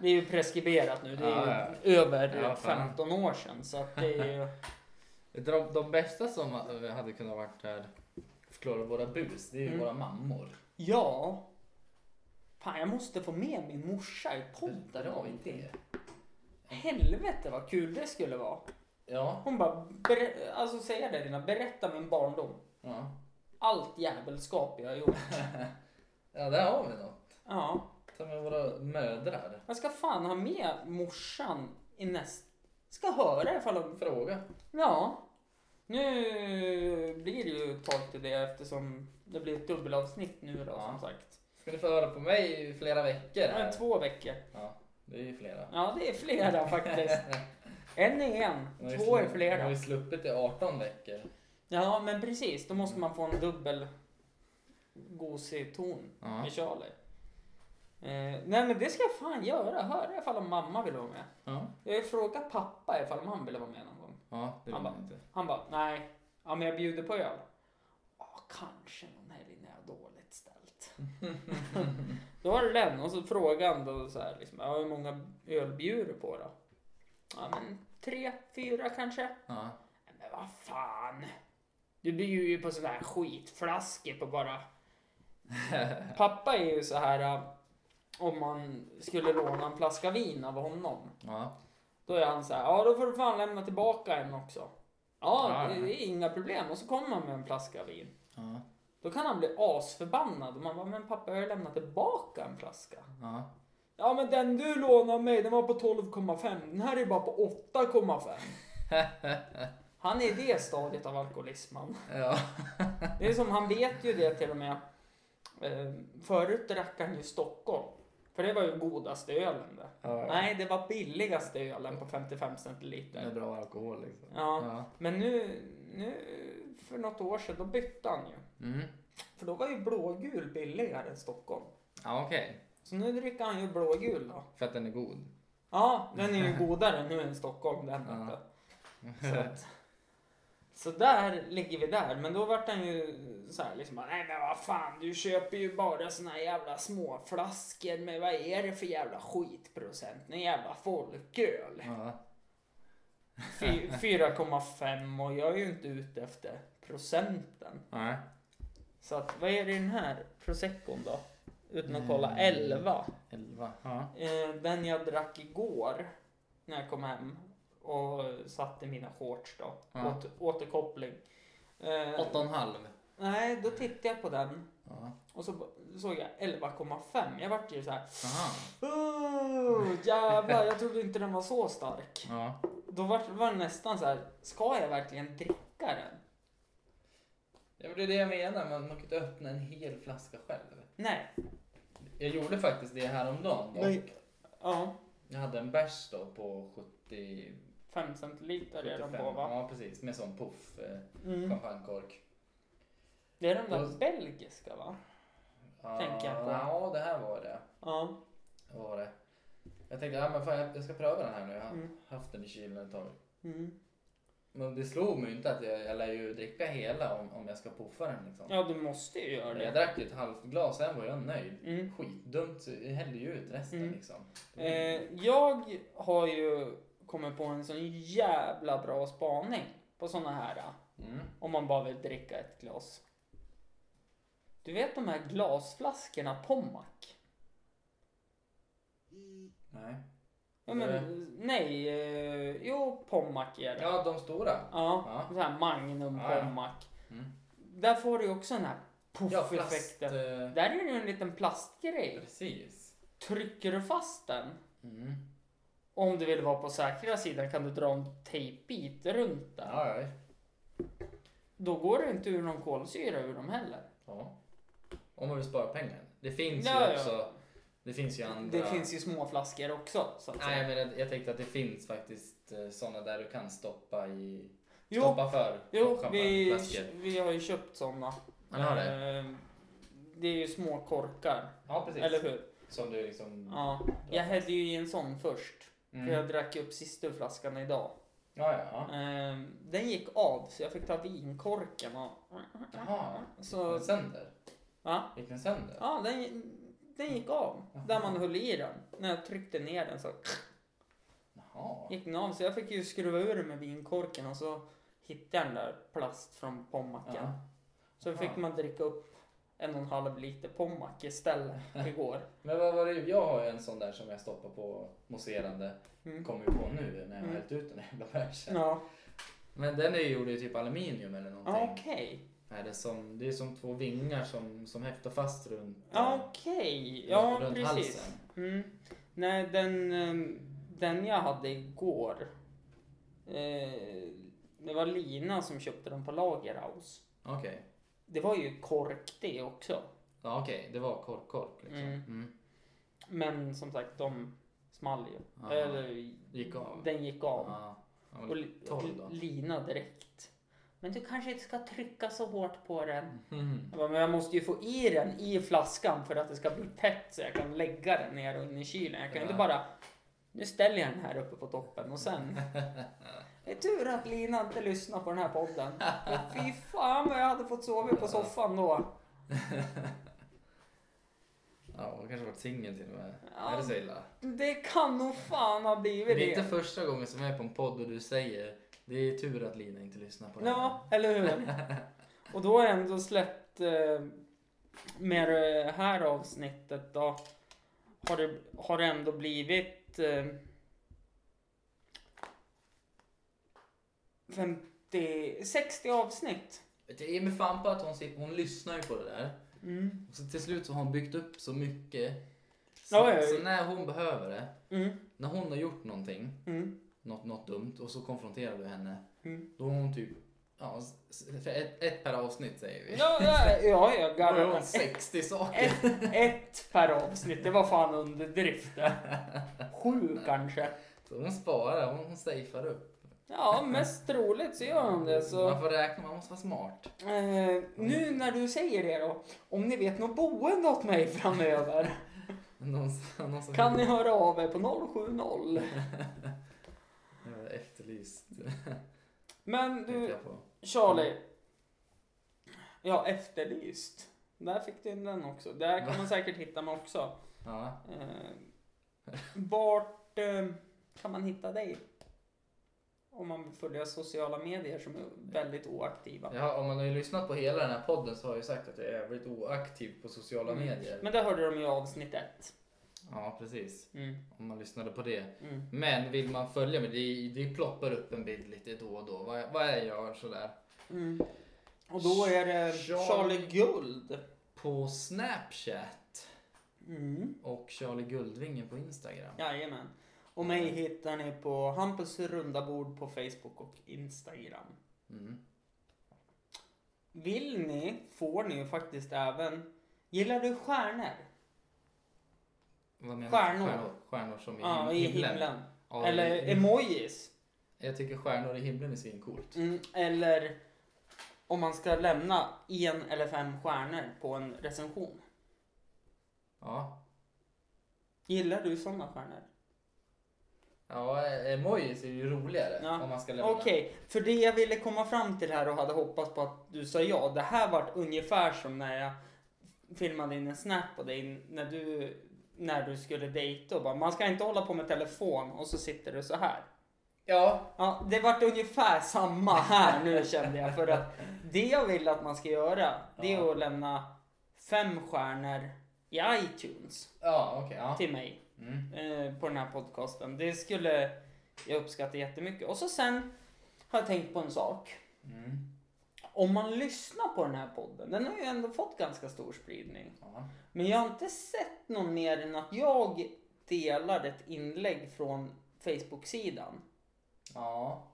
[SPEAKER 3] Det är ju preskriberat nu. Det är ju
[SPEAKER 2] Ja,
[SPEAKER 3] över
[SPEAKER 2] Ja, fan.
[SPEAKER 3] 15 år sedan. Så att det är ju...
[SPEAKER 2] De, de bästa som hade kunnat varit här förklara våra bus, det är ju
[SPEAKER 3] Mm.
[SPEAKER 2] våra mammor.
[SPEAKER 3] Ja. Fan jag måste få med min morsa i podden.
[SPEAKER 2] Bra idé.
[SPEAKER 3] Helvete vad kul det skulle vara.
[SPEAKER 2] Ja.
[SPEAKER 3] Hon bara, "Ber- alltså säger det dina, berätta min barndom.
[SPEAKER 2] Ja.
[SPEAKER 3] Allt jävelskap jag har gjort.
[SPEAKER 2] ja, där har vi något.
[SPEAKER 3] Ja.
[SPEAKER 2] Ta med våra mödrar.
[SPEAKER 3] Jag ska fan ha med morsan i näst... Ska höra ifall de...
[SPEAKER 2] Fråga.
[SPEAKER 3] Ja. Nu blir det ju ett tag till det eftersom det blir ett dubbelavsnitt nu då
[SPEAKER 2] Ja.
[SPEAKER 3] som sagt.
[SPEAKER 2] Ska ni få höra på mig i flera veckor?
[SPEAKER 3] Ja,
[SPEAKER 2] Här?
[SPEAKER 3] två veckor.
[SPEAKER 2] Ja, det är ju flera.
[SPEAKER 3] Ja, det är flera faktiskt. En är en,
[SPEAKER 2] Nu har vi
[SPEAKER 3] två
[SPEAKER 2] slu-
[SPEAKER 3] är
[SPEAKER 2] nu har
[SPEAKER 3] flera.
[SPEAKER 2] vi sluppit i 18 veckor.
[SPEAKER 3] Ja, men precis. Då måste man få en dubbel gosig ton
[SPEAKER 2] Ja.
[SPEAKER 3] i Charlie. Eh, nej, men det ska jag fan göra. Höra ifall om mamma vill vara med.
[SPEAKER 2] Ja,
[SPEAKER 3] Jag frågar pappa ifall om han vill vara med någon gång.
[SPEAKER 2] ja det vill
[SPEAKER 3] Han
[SPEAKER 2] man
[SPEAKER 3] bara-
[SPEAKER 2] inte.
[SPEAKER 3] Han bara, nej, ja, men jag bjuder på öl. Ja, kanske någon helg när jag har dåligt ställt. då var det den och så frågade han då så här, liksom, ja, hur många öl bjuder du på då? Ja, men tre, fyra kanske.
[SPEAKER 2] Ja.
[SPEAKER 3] "Ja, Men vad fan. Du bjuder ju på sådär skitflaskor på bara. Pappa är ju så här äh, om man skulle låna en flaska vin av honom.
[SPEAKER 2] Ja.
[SPEAKER 3] Då är han så här, ja då får du fan lämna tillbaka en också. Ja,
[SPEAKER 2] Ja, ja.
[SPEAKER 3] det är inga problem. Och så kommer han med en flaska vin.
[SPEAKER 2] Ja.
[SPEAKER 3] Då kan han bli asförbannad. Och man bara, men pappa jag har ju lämnat tillbaka en flaska.
[SPEAKER 2] Ja.
[SPEAKER 3] Ja men den du lånade av mig den var på 12,5. Den här är bara på 8,5. Han är i det stadiet av alkoholism han.
[SPEAKER 2] ja.
[SPEAKER 3] Det är som, han vet ju det till och med. Eh, Förut drack han ju Stockholm. För det var ju godaste ölen det.
[SPEAKER 2] ja.
[SPEAKER 3] Nej, det var billigaste ölen på 55
[SPEAKER 2] Det är
[SPEAKER 3] centiliter.
[SPEAKER 2] bra alkohol liksom.
[SPEAKER 3] Ja,
[SPEAKER 2] Ja.
[SPEAKER 3] men nu, nu för något år sedan då bytte han ju.
[SPEAKER 2] Mm.
[SPEAKER 3] För då var ju blågul billigare än Stockholm.
[SPEAKER 2] Ja, okej.
[SPEAKER 3] Så nu dricker han ju blågul då.
[SPEAKER 2] För att den är god.
[SPEAKER 3] Ja, den är ju godare nu än Stockholm den
[SPEAKER 2] Ja.
[SPEAKER 3] inte. Så, att, så där ligger vi där. Men då vart han ju så här liksom bara, nej men vad fan du köper ju bara såna här jävla småflaskor med vad är det för jävla skitprocent? En jävla folköl.
[SPEAKER 2] Ja.
[SPEAKER 3] Fy- 4,5 och jag är ju inte ute efter procenten.
[SPEAKER 2] Nej.
[SPEAKER 3] Så att, vad är det i den här proseccon då? Utan att
[SPEAKER 2] Mm.
[SPEAKER 3] kolla, 11.
[SPEAKER 2] Elva. Ja.
[SPEAKER 3] Eh, den jag drack igår när jag kom hem och satte mina shorts då.
[SPEAKER 2] Ja.
[SPEAKER 3] Åter, återkoppling. Eh,
[SPEAKER 2] Åtta och en halv.
[SPEAKER 3] nej, då tittade jag på den
[SPEAKER 2] Ja.
[SPEAKER 3] och så b- såg jag 11,5. Jag vart ju så här.
[SPEAKER 2] Aha.
[SPEAKER 3] Oh, jävlar, jag trodde inte den var så stark.
[SPEAKER 2] Ja.
[SPEAKER 3] Då var, var det nästan så här. Ska jag verkligen dricka den?
[SPEAKER 2] Ja, men det är det jag menar. Man, man kan ju inte öppna en hel flaska själv.
[SPEAKER 3] Nej.
[SPEAKER 2] Jag gjorde faktiskt det häromdagen. dock.
[SPEAKER 3] Nej. Ja,
[SPEAKER 2] Jag hade en bärs då på 70...
[SPEAKER 3] 5 centiliter är den
[SPEAKER 2] 75.
[SPEAKER 3] på va?
[SPEAKER 2] Ja, precis. Med sån puff eh,
[SPEAKER 3] Mm.
[SPEAKER 2] champagnekork.
[SPEAKER 3] Det är den
[SPEAKER 2] Och-
[SPEAKER 3] där belgiska va? Tänker jag på.
[SPEAKER 2] Ja, det här var det.
[SPEAKER 3] Ja.
[SPEAKER 2] Vad var det? Jag tänkte, ja, men fan, jag- jag ska pröva den här nu. Jag har
[SPEAKER 3] Mm.
[SPEAKER 2] haft den i kylen ett tag.
[SPEAKER 3] Mm.
[SPEAKER 2] Men det slog mig ju inte att jag, jag lär ju dricka hela om, om jag ska puffa den liksom.
[SPEAKER 3] Ja, du måste ju göra
[SPEAKER 2] Men jag
[SPEAKER 3] det.
[SPEAKER 2] drack ju ett halvt glas, sen var jag nöjd.
[SPEAKER 3] Mm.
[SPEAKER 2] Skitdumt, så jag hällde ju ut resten
[SPEAKER 3] Mm.
[SPEAKER 2] liksom.
[SPEAKER 3] Eh, jag har ju kommit på en sån jävla bra spaning på såna här. eh,
[SPEAKER 2] Mm.
[SPEAKER 3] Om man bara vill dricka ett glas. Du vet de här glasflaskorna Pommac?
[SPEAKER 2] Nej.
[SPEAKER 3] Ja, men,
[SPEAKER 2] Nej.
[SPEAKER 3] Nej, eh, jo Pommac är det. Ja,
[SPEAKER 2] Ja, de stora. Ja.
[SPEAKER 3] så här Magnum
[SPEAKER 2] Ja, ja.
[SPEAKER 3] Pommac.
[SPEAKER 2] Mm.
[SPEAKER 3] Där får du ju också den här
[SPEAKER 2] Ja, plast.
[SPEAKER 3] puff-effekten.
[SPEAKER 2] Eh,
[SPEAKER 3] Där är det ju en liten plastgrej.
[SPEAKER 2] precis.
[SPEAKER 3] Trycker du fast den,
[SPEAKER 2] Mm.
[SPEAKER 3] om du vill vara på säkra sidan, kan du dra en tejpbit runt den.
[SPEAKER 2] Ja, ja.
[SPEAKER 3] Då går det inte ur någon kolsyra ur dem heller.
[SPEAKER 2] ja. Om man vill spara pengar. Det finns
[SPEAKER 3] Ja,
[SPEAKER 2] ju
[SPEAKER 3] ja.
[SPEAKER 2] också. Det finns ju andra.
[SPEAKER 3] Det finns ju små flaskor också. Så att
[SPEAKER 2] Nej,
[SPEAKER 3] säga.
[SPEAKER 2] men jag, jag tänkte att det finns faktiskt eh, såna där du kan stoppa i...
[SPEAKER 3] Jo,
[SPEAKER 2] Stoppa för
[SPEAKER 3] jo vi,
[SPEAKER 2] champagneflaskor.
[SPEAKER 3] vi har ju köpt sådana.
[SPEAKER 2] Man har det?
[SPEAKER 3] Eh, Det är ju små korkar,
[SPEAKER 2] Ja, precis.
[SPEAKER 3] eller hur?
[SPEAKER 2] Som du liksom...
[SPEAKER 3] Ja. Jag hällde ju i en sån först.
[SPEAKER 2] Mm.
[SPEAKER 3] För jag drack ju upp sista ur flaskan idag.
[SPEAKER 2] Ja, ja, ja.
[SPEAKER 3] Eh, Den gick av så jag fick ta vinkorken och...
[SPEAKER 2] Jaha. Gick
[SPEAKER 3] Så,
[SPEAKER 2] den sönder?
[SPEAKER 3] Va?
[SPEAKER 2] Gick den sönder?
[SPEAKER 3] ja, den, den gick av. Där man höll i den. När jag tryckte ner den så
[SPEAKER 2] Jaha.
[SPEAKER 3] gick den av så jag fick ju skruva ur den med vinkorken och så hittade jag den där plast från pommacen.
[SPEAKER 2] Ja.
[SPEAKER 3] Så fick
[SPEAKER 2] Aha.
[SPEAKER 3] man dricka upp en och en halv liter pommac istället igår.
[SPEAKER 2] Men vad var det? Jag har ju en sån där som jag stoppar på mousserande
[SPEAKER 3] Mm.
[SPEAKER 2] Kommer jag på nu när jag har
[SPEAKER 3] Mm.
[SPEAKER 2] hällt ut den här jävla bärsen.
[SPEAKER 3] Ja,
[SPEAKER 2] Men den är ju gjord i typ aluminium eller någonting.
[SPEAKER 3] Ja, okej.
[SPEAKER 2] Är det, som, det är som två vingar som, som häftar fast runt,
[SPEAKER 3] Ja,
[SPEAKER 2] eh,
[SPEAKER 3] Okej, ja
[SPEAKER 2] runt
[SPEAKER 3] precis.
[SPEAKER 2] halsen.
[SPEAKER 3] Mm. Nej, den, ehm, den jag hade igår. Eh, det var Lina som köpte den på Lagerhaus.
[SPEAKER 2] Okej,
[SPEAKER 3] Det var ju kork det också.
[SPEAKER 2] ja, okej. det var kork-kork liksom.
[SPEAKER 3] Mm.
[SPEAKER 2] Mm.
[SPEAKER 3] Men som sagt, de small ju.
[SPEAKER 2] Ja.
[SPEAKER 3] Eller,
[SPEAKER 2] Gick av.
[SPEAKER 3] Den gick av.
[SPEAKER 2] Ja. Ja, men
[SPEAKER 3] Och li-
[SPEAKER 2] Torr då.
[SPEAKER 3] Lina direkt. Men du kanske inte ska trycka så hårt på den.
[SPEAKER 2] Mm.
[SPEAKER 3] Jag bara, men jag måste ju få i den i flaskan för att det ska bli tätt så jag kan lägga den ner och in i kylen. Jag kan ju inte
[SPEAKER 2] Ja.
[SPEAKER 3] bara, nu ställer jag den här uppe på toppen och sen. Det är tur att Lina inte lyssnar på den här podden. För Fy fan vad jag hade fått sova på soffan då.
[SPEAKER 2] Ja, hon kanske varit singel till och med.
[SPEAKER 3] Ja.
[SPEAKER 2] Är det så illa?
[SPEAKER 3] Det kan nog fan ha blivit
[SPEAKER 2] Det är inte
[SPEAKER 3] det.
[SPEAKER 2] första gången som jag är på en podd och du säger det är tur att Lina inte lyssnar på det här."
[SPEAKER 3] Ja, eller hur? Och då har jag ändå släppt eh, med det här avsnittet då har det, har det ändå blivit eh, 50, 60 avsnitt.
[SPEAKER 2] Det är med fan på att hon, sitter, hon lyssnar ju på det där.
[SPEAKER 3] Mm.
[SPEAKER 2] Och så till slut så har hon byggt upp så mycket. Så,
[SPEAKER 3] Ja, ja, ja.
[SPEAKER 2] så när hon behöver det,
[SPEAKER 3] Mm,
[SPEAKER 2] när hon har gjort någonting,
[SPEAKER 3] mm,
[SPEAKER 2] något, något dumt och så konfronterar du henne.
[SPEAKER 3] mm.
[SPEAKER 2] Då har hon typ, ja, s- s- för ett, ett per avsnitt säger vi.
[SPEAKER 3] Ja, ja, ja, jag
[SPEAKER 2] Då har hon
[SPEAKER 3] garanterar.
[SPEAKER 2] 60 saker.
[SPEAKER 3] Ett, ett per avsnitt, det var fan underdrift det. Sju kanske.
[SPEAKER 2] Så hon sparar, hon, hon safear upp.
[SPEAKER 3] Ja, mest troligt så gör de det. Så.
[SPEAKER 2] Man får räkna, man måste vara smart.
[SPEAKER 3] Eh, nu
[SPEAKER 2] Mm.
[SPEAKER 3] när du säger det då, om ni vet något boende åt mig framöver
[SPEAKER 2] Mm. Någon, som- någon som
[SPEAKER 3] kan ni höra av er på 070.
[SPEAKER 2] Jag var efterlyst. eh,
[SPEAKER 3] Men
[SPEAKER 2] tänkte
[SPEAKER 3] du,
[SPEAKER 2] jag på.
[SPEAKER 3] Charlie. Ja, efterlyst. Där fick du in den också. Där kan man säkert hitta mig också.
[SPEAKER 2] Ja.
[SPEAKER 3] Eh, vart eh, kan man hitta dig? Om man vill följa sociala medier som är väldigt oaktiva.
[SPEAKER 2] Ja, om man har ju lyssnat på hela den här podden så har jag ju sagt att jag är väldigt oaktiv på sociala
[SPEAKER 3] Mm.
[SPEAKER 2] medier.
[SPEAKER 3] Men det hörde de ju i avsnitt ett.
[SPEAKER 2] Ja, precis.
[SPEAKER 3] Mm,
[SPEAKER 2] Om man lyssnade på det.
[SPEAKER 3] mm.
[SPEAKER 2] Men vill man följa mig, det, det ploppar upp en bild lite då och då. Vad, vad jag gör sådär.
[SPEAKER 3] Mm. Och då är det
[SPEAKER 2] Charlie-
[SPEAKER 3] Charlie Guld.
[SPEAKER 2] På Snapchat
[SPEAKER 3] Mm.
[SPEAKER 2] och Charlie Guldvingen på Instagram.
[SPEAKER 3] Jajamän. Och mig
[SPEAKER 2] Mm.
[SPEAKER 3] hittar ni på Hampus runda bord på Facebook och Instagram.
[SPEAKER 2] Mm.
[SPEAKER 3] Vill ni får ni ju faktiskt även Gillar du stjärnor?
[SPEAKER 2] Vad menar du?
[SPEAKER 3] Stjärnor.
[SPEAKER 2] Stjärnor, stjärnor som i
[SPEAKER 3] Ja, i
[SPEAKER 2] himlen.
[SPEAKER 3] himlen.
[SPEAKER 2] Ja,
[SPEAKER 3] Eller
[SPEAKER 2] i-
[SPEAKER 3] emojis.
[SPEAKER 2] Jag tycker stjärnor i himlen är svincoolt.
[SPEAKER 3] Mm. Eller om man ska lämna en eller fem stjärnor på en recension.
[SPEAKER 2] Ja.
[SPEAKER 3] Gillar du sådana stjärnor?
[SPEAKER 2] Ja, eh, emojis är ju roligare
[SPEAKER 3] Ja.
[SPEAKER 2] om man ska lämna.
[SPEAKER 3] Okej, för det jag ville komma fram till här och hade hoppats på att du sa ja. Det här vart ungefär som när jag filmade in en snap på dig när du, när du skulle dejta och bara man ska inte hålla på med telefon och så sitter du så här.
[SPEAKER 2] Ja,
[SPEAKER 3] Ja, det vart ungefär samma här nu kände jag för att det jag vill att man ska göra det är
[SPEAKER 2] Ja.
[SPEAKER 3] att lämna fem stjärnor i iTunes
[SPEAKER 2] ja okej. ja.
[SPEAKER 3] till mig
[SPEAKER 2] Mm.
[SPEAKER 3] eh, på den här podcasten. Det skulle jag uppskatta jättemycket. Och så sen har jag tänkt på en sak.
[SPEAKER 2] Mm.
[SPEAKER 3] Om man lyssnar på den här podden, den har ju ändå fått ganska stor spridning.
[SPEAKER 2] Ja.
[SPEAKER 3] Men jag har inte sett någon mer än att jag delar ett inlägg från Facebook-sidan
[SPEAKER 2] Ja,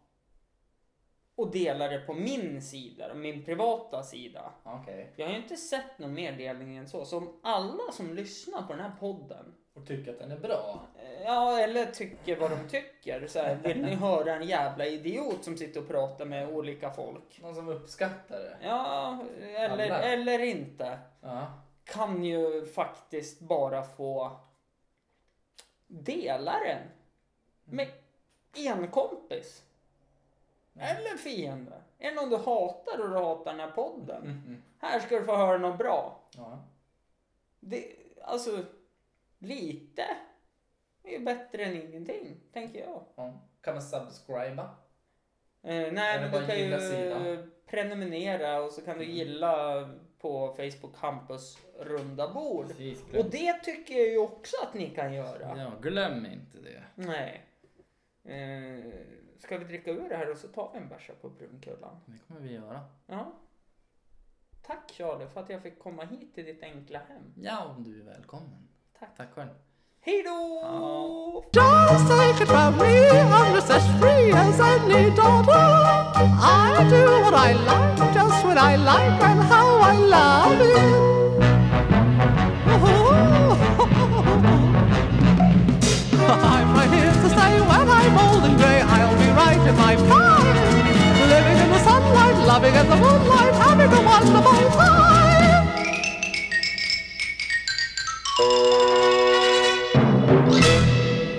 [SPEAKER 3] och delar det på min sida, min privata sida.
[SPEAKER 2] okej.
[SPEAKER 3] Jag har ju inte sett någon mer delning än så. Så om alla som lyssnar på den här podden
[SPEAKER 2] Och tycker att den är bra.
[SPEAKER 3] Eh, Ja, eller tycker vad de tycker. Så här, vill ni höra en jävla idiot som sitter och pratar med olika folk?
[SPEAKER 2] Någon som uppskattar det.
[SPEAKER 3] Ja, eller,
[SPEAKER 2] Alla.
[SPEAKER 3] eller inte.
[SPEAKER 2] Ja.
[SPEAKER 3] Kan ju faktiskt bara få dela
[SPEAKER 2] Mm.
[SPEAKER 3] den med en kompis.
[SPEAKER 2] Mm.
[SPEAKER 3] Eller fiende. Är det någon du hatar och du hatar den här podden?
[SPEAKER 2] Mhm.
[SPEAKER 3] Här ska du få höra något bra.
[SPEAKER 2] ja.
[SPEAKER 3] Det, alltså, lite är ju bättre än ingenting, tänker jag.
[SPEAKER 2] ja. Kan man subscriba?
[SPEAKER 3] Eh, nej,
[SPEAKER 2] Eller
[SPEAKER 3] men
[SPEAKER 2] bara
[SPEAKER 3] du kan ju
[SPEAKER 2] gilla sidan.
[SPEAKER 3] prenumerera och så kan du
[SPEAKER 2] Mm.
[SPEAKER 3] gilla på Facebook Hampus runda bord.
[SPEAKER 2] Precis,
[SPEAKER 3] Och det tycker jag ju också att ni kan göra.
[SPEAKER 2] Ja, glöm inte det.
[SPEAKER 3] Nej. Eh, ska vi dricka ur det här och så tar vi en bärsa på Brunkullan?
[SPEAKER 2] Det kommer vi göra.
[SPEAKER 3] Ja. Tack Charlie för att jag fick komma hit till ditt enkla hem.
[SPEAKER 2] Ja, du är välkommen.
[SPEAKER 3] Tack.
[SPEAKER 2] Tack själv.
[SPEAKER 3] Hej då!
[SPEAKER 2] Ja.
[SPEAKER 1] Just take it from me, I'm just as free as any daughter. I do what I like, just when I like, and how I love it. I'm right here to say when I'm old and grey, I'll be right in my prime. Living in the sunlight, loving in the moonlight, having a wonderful time.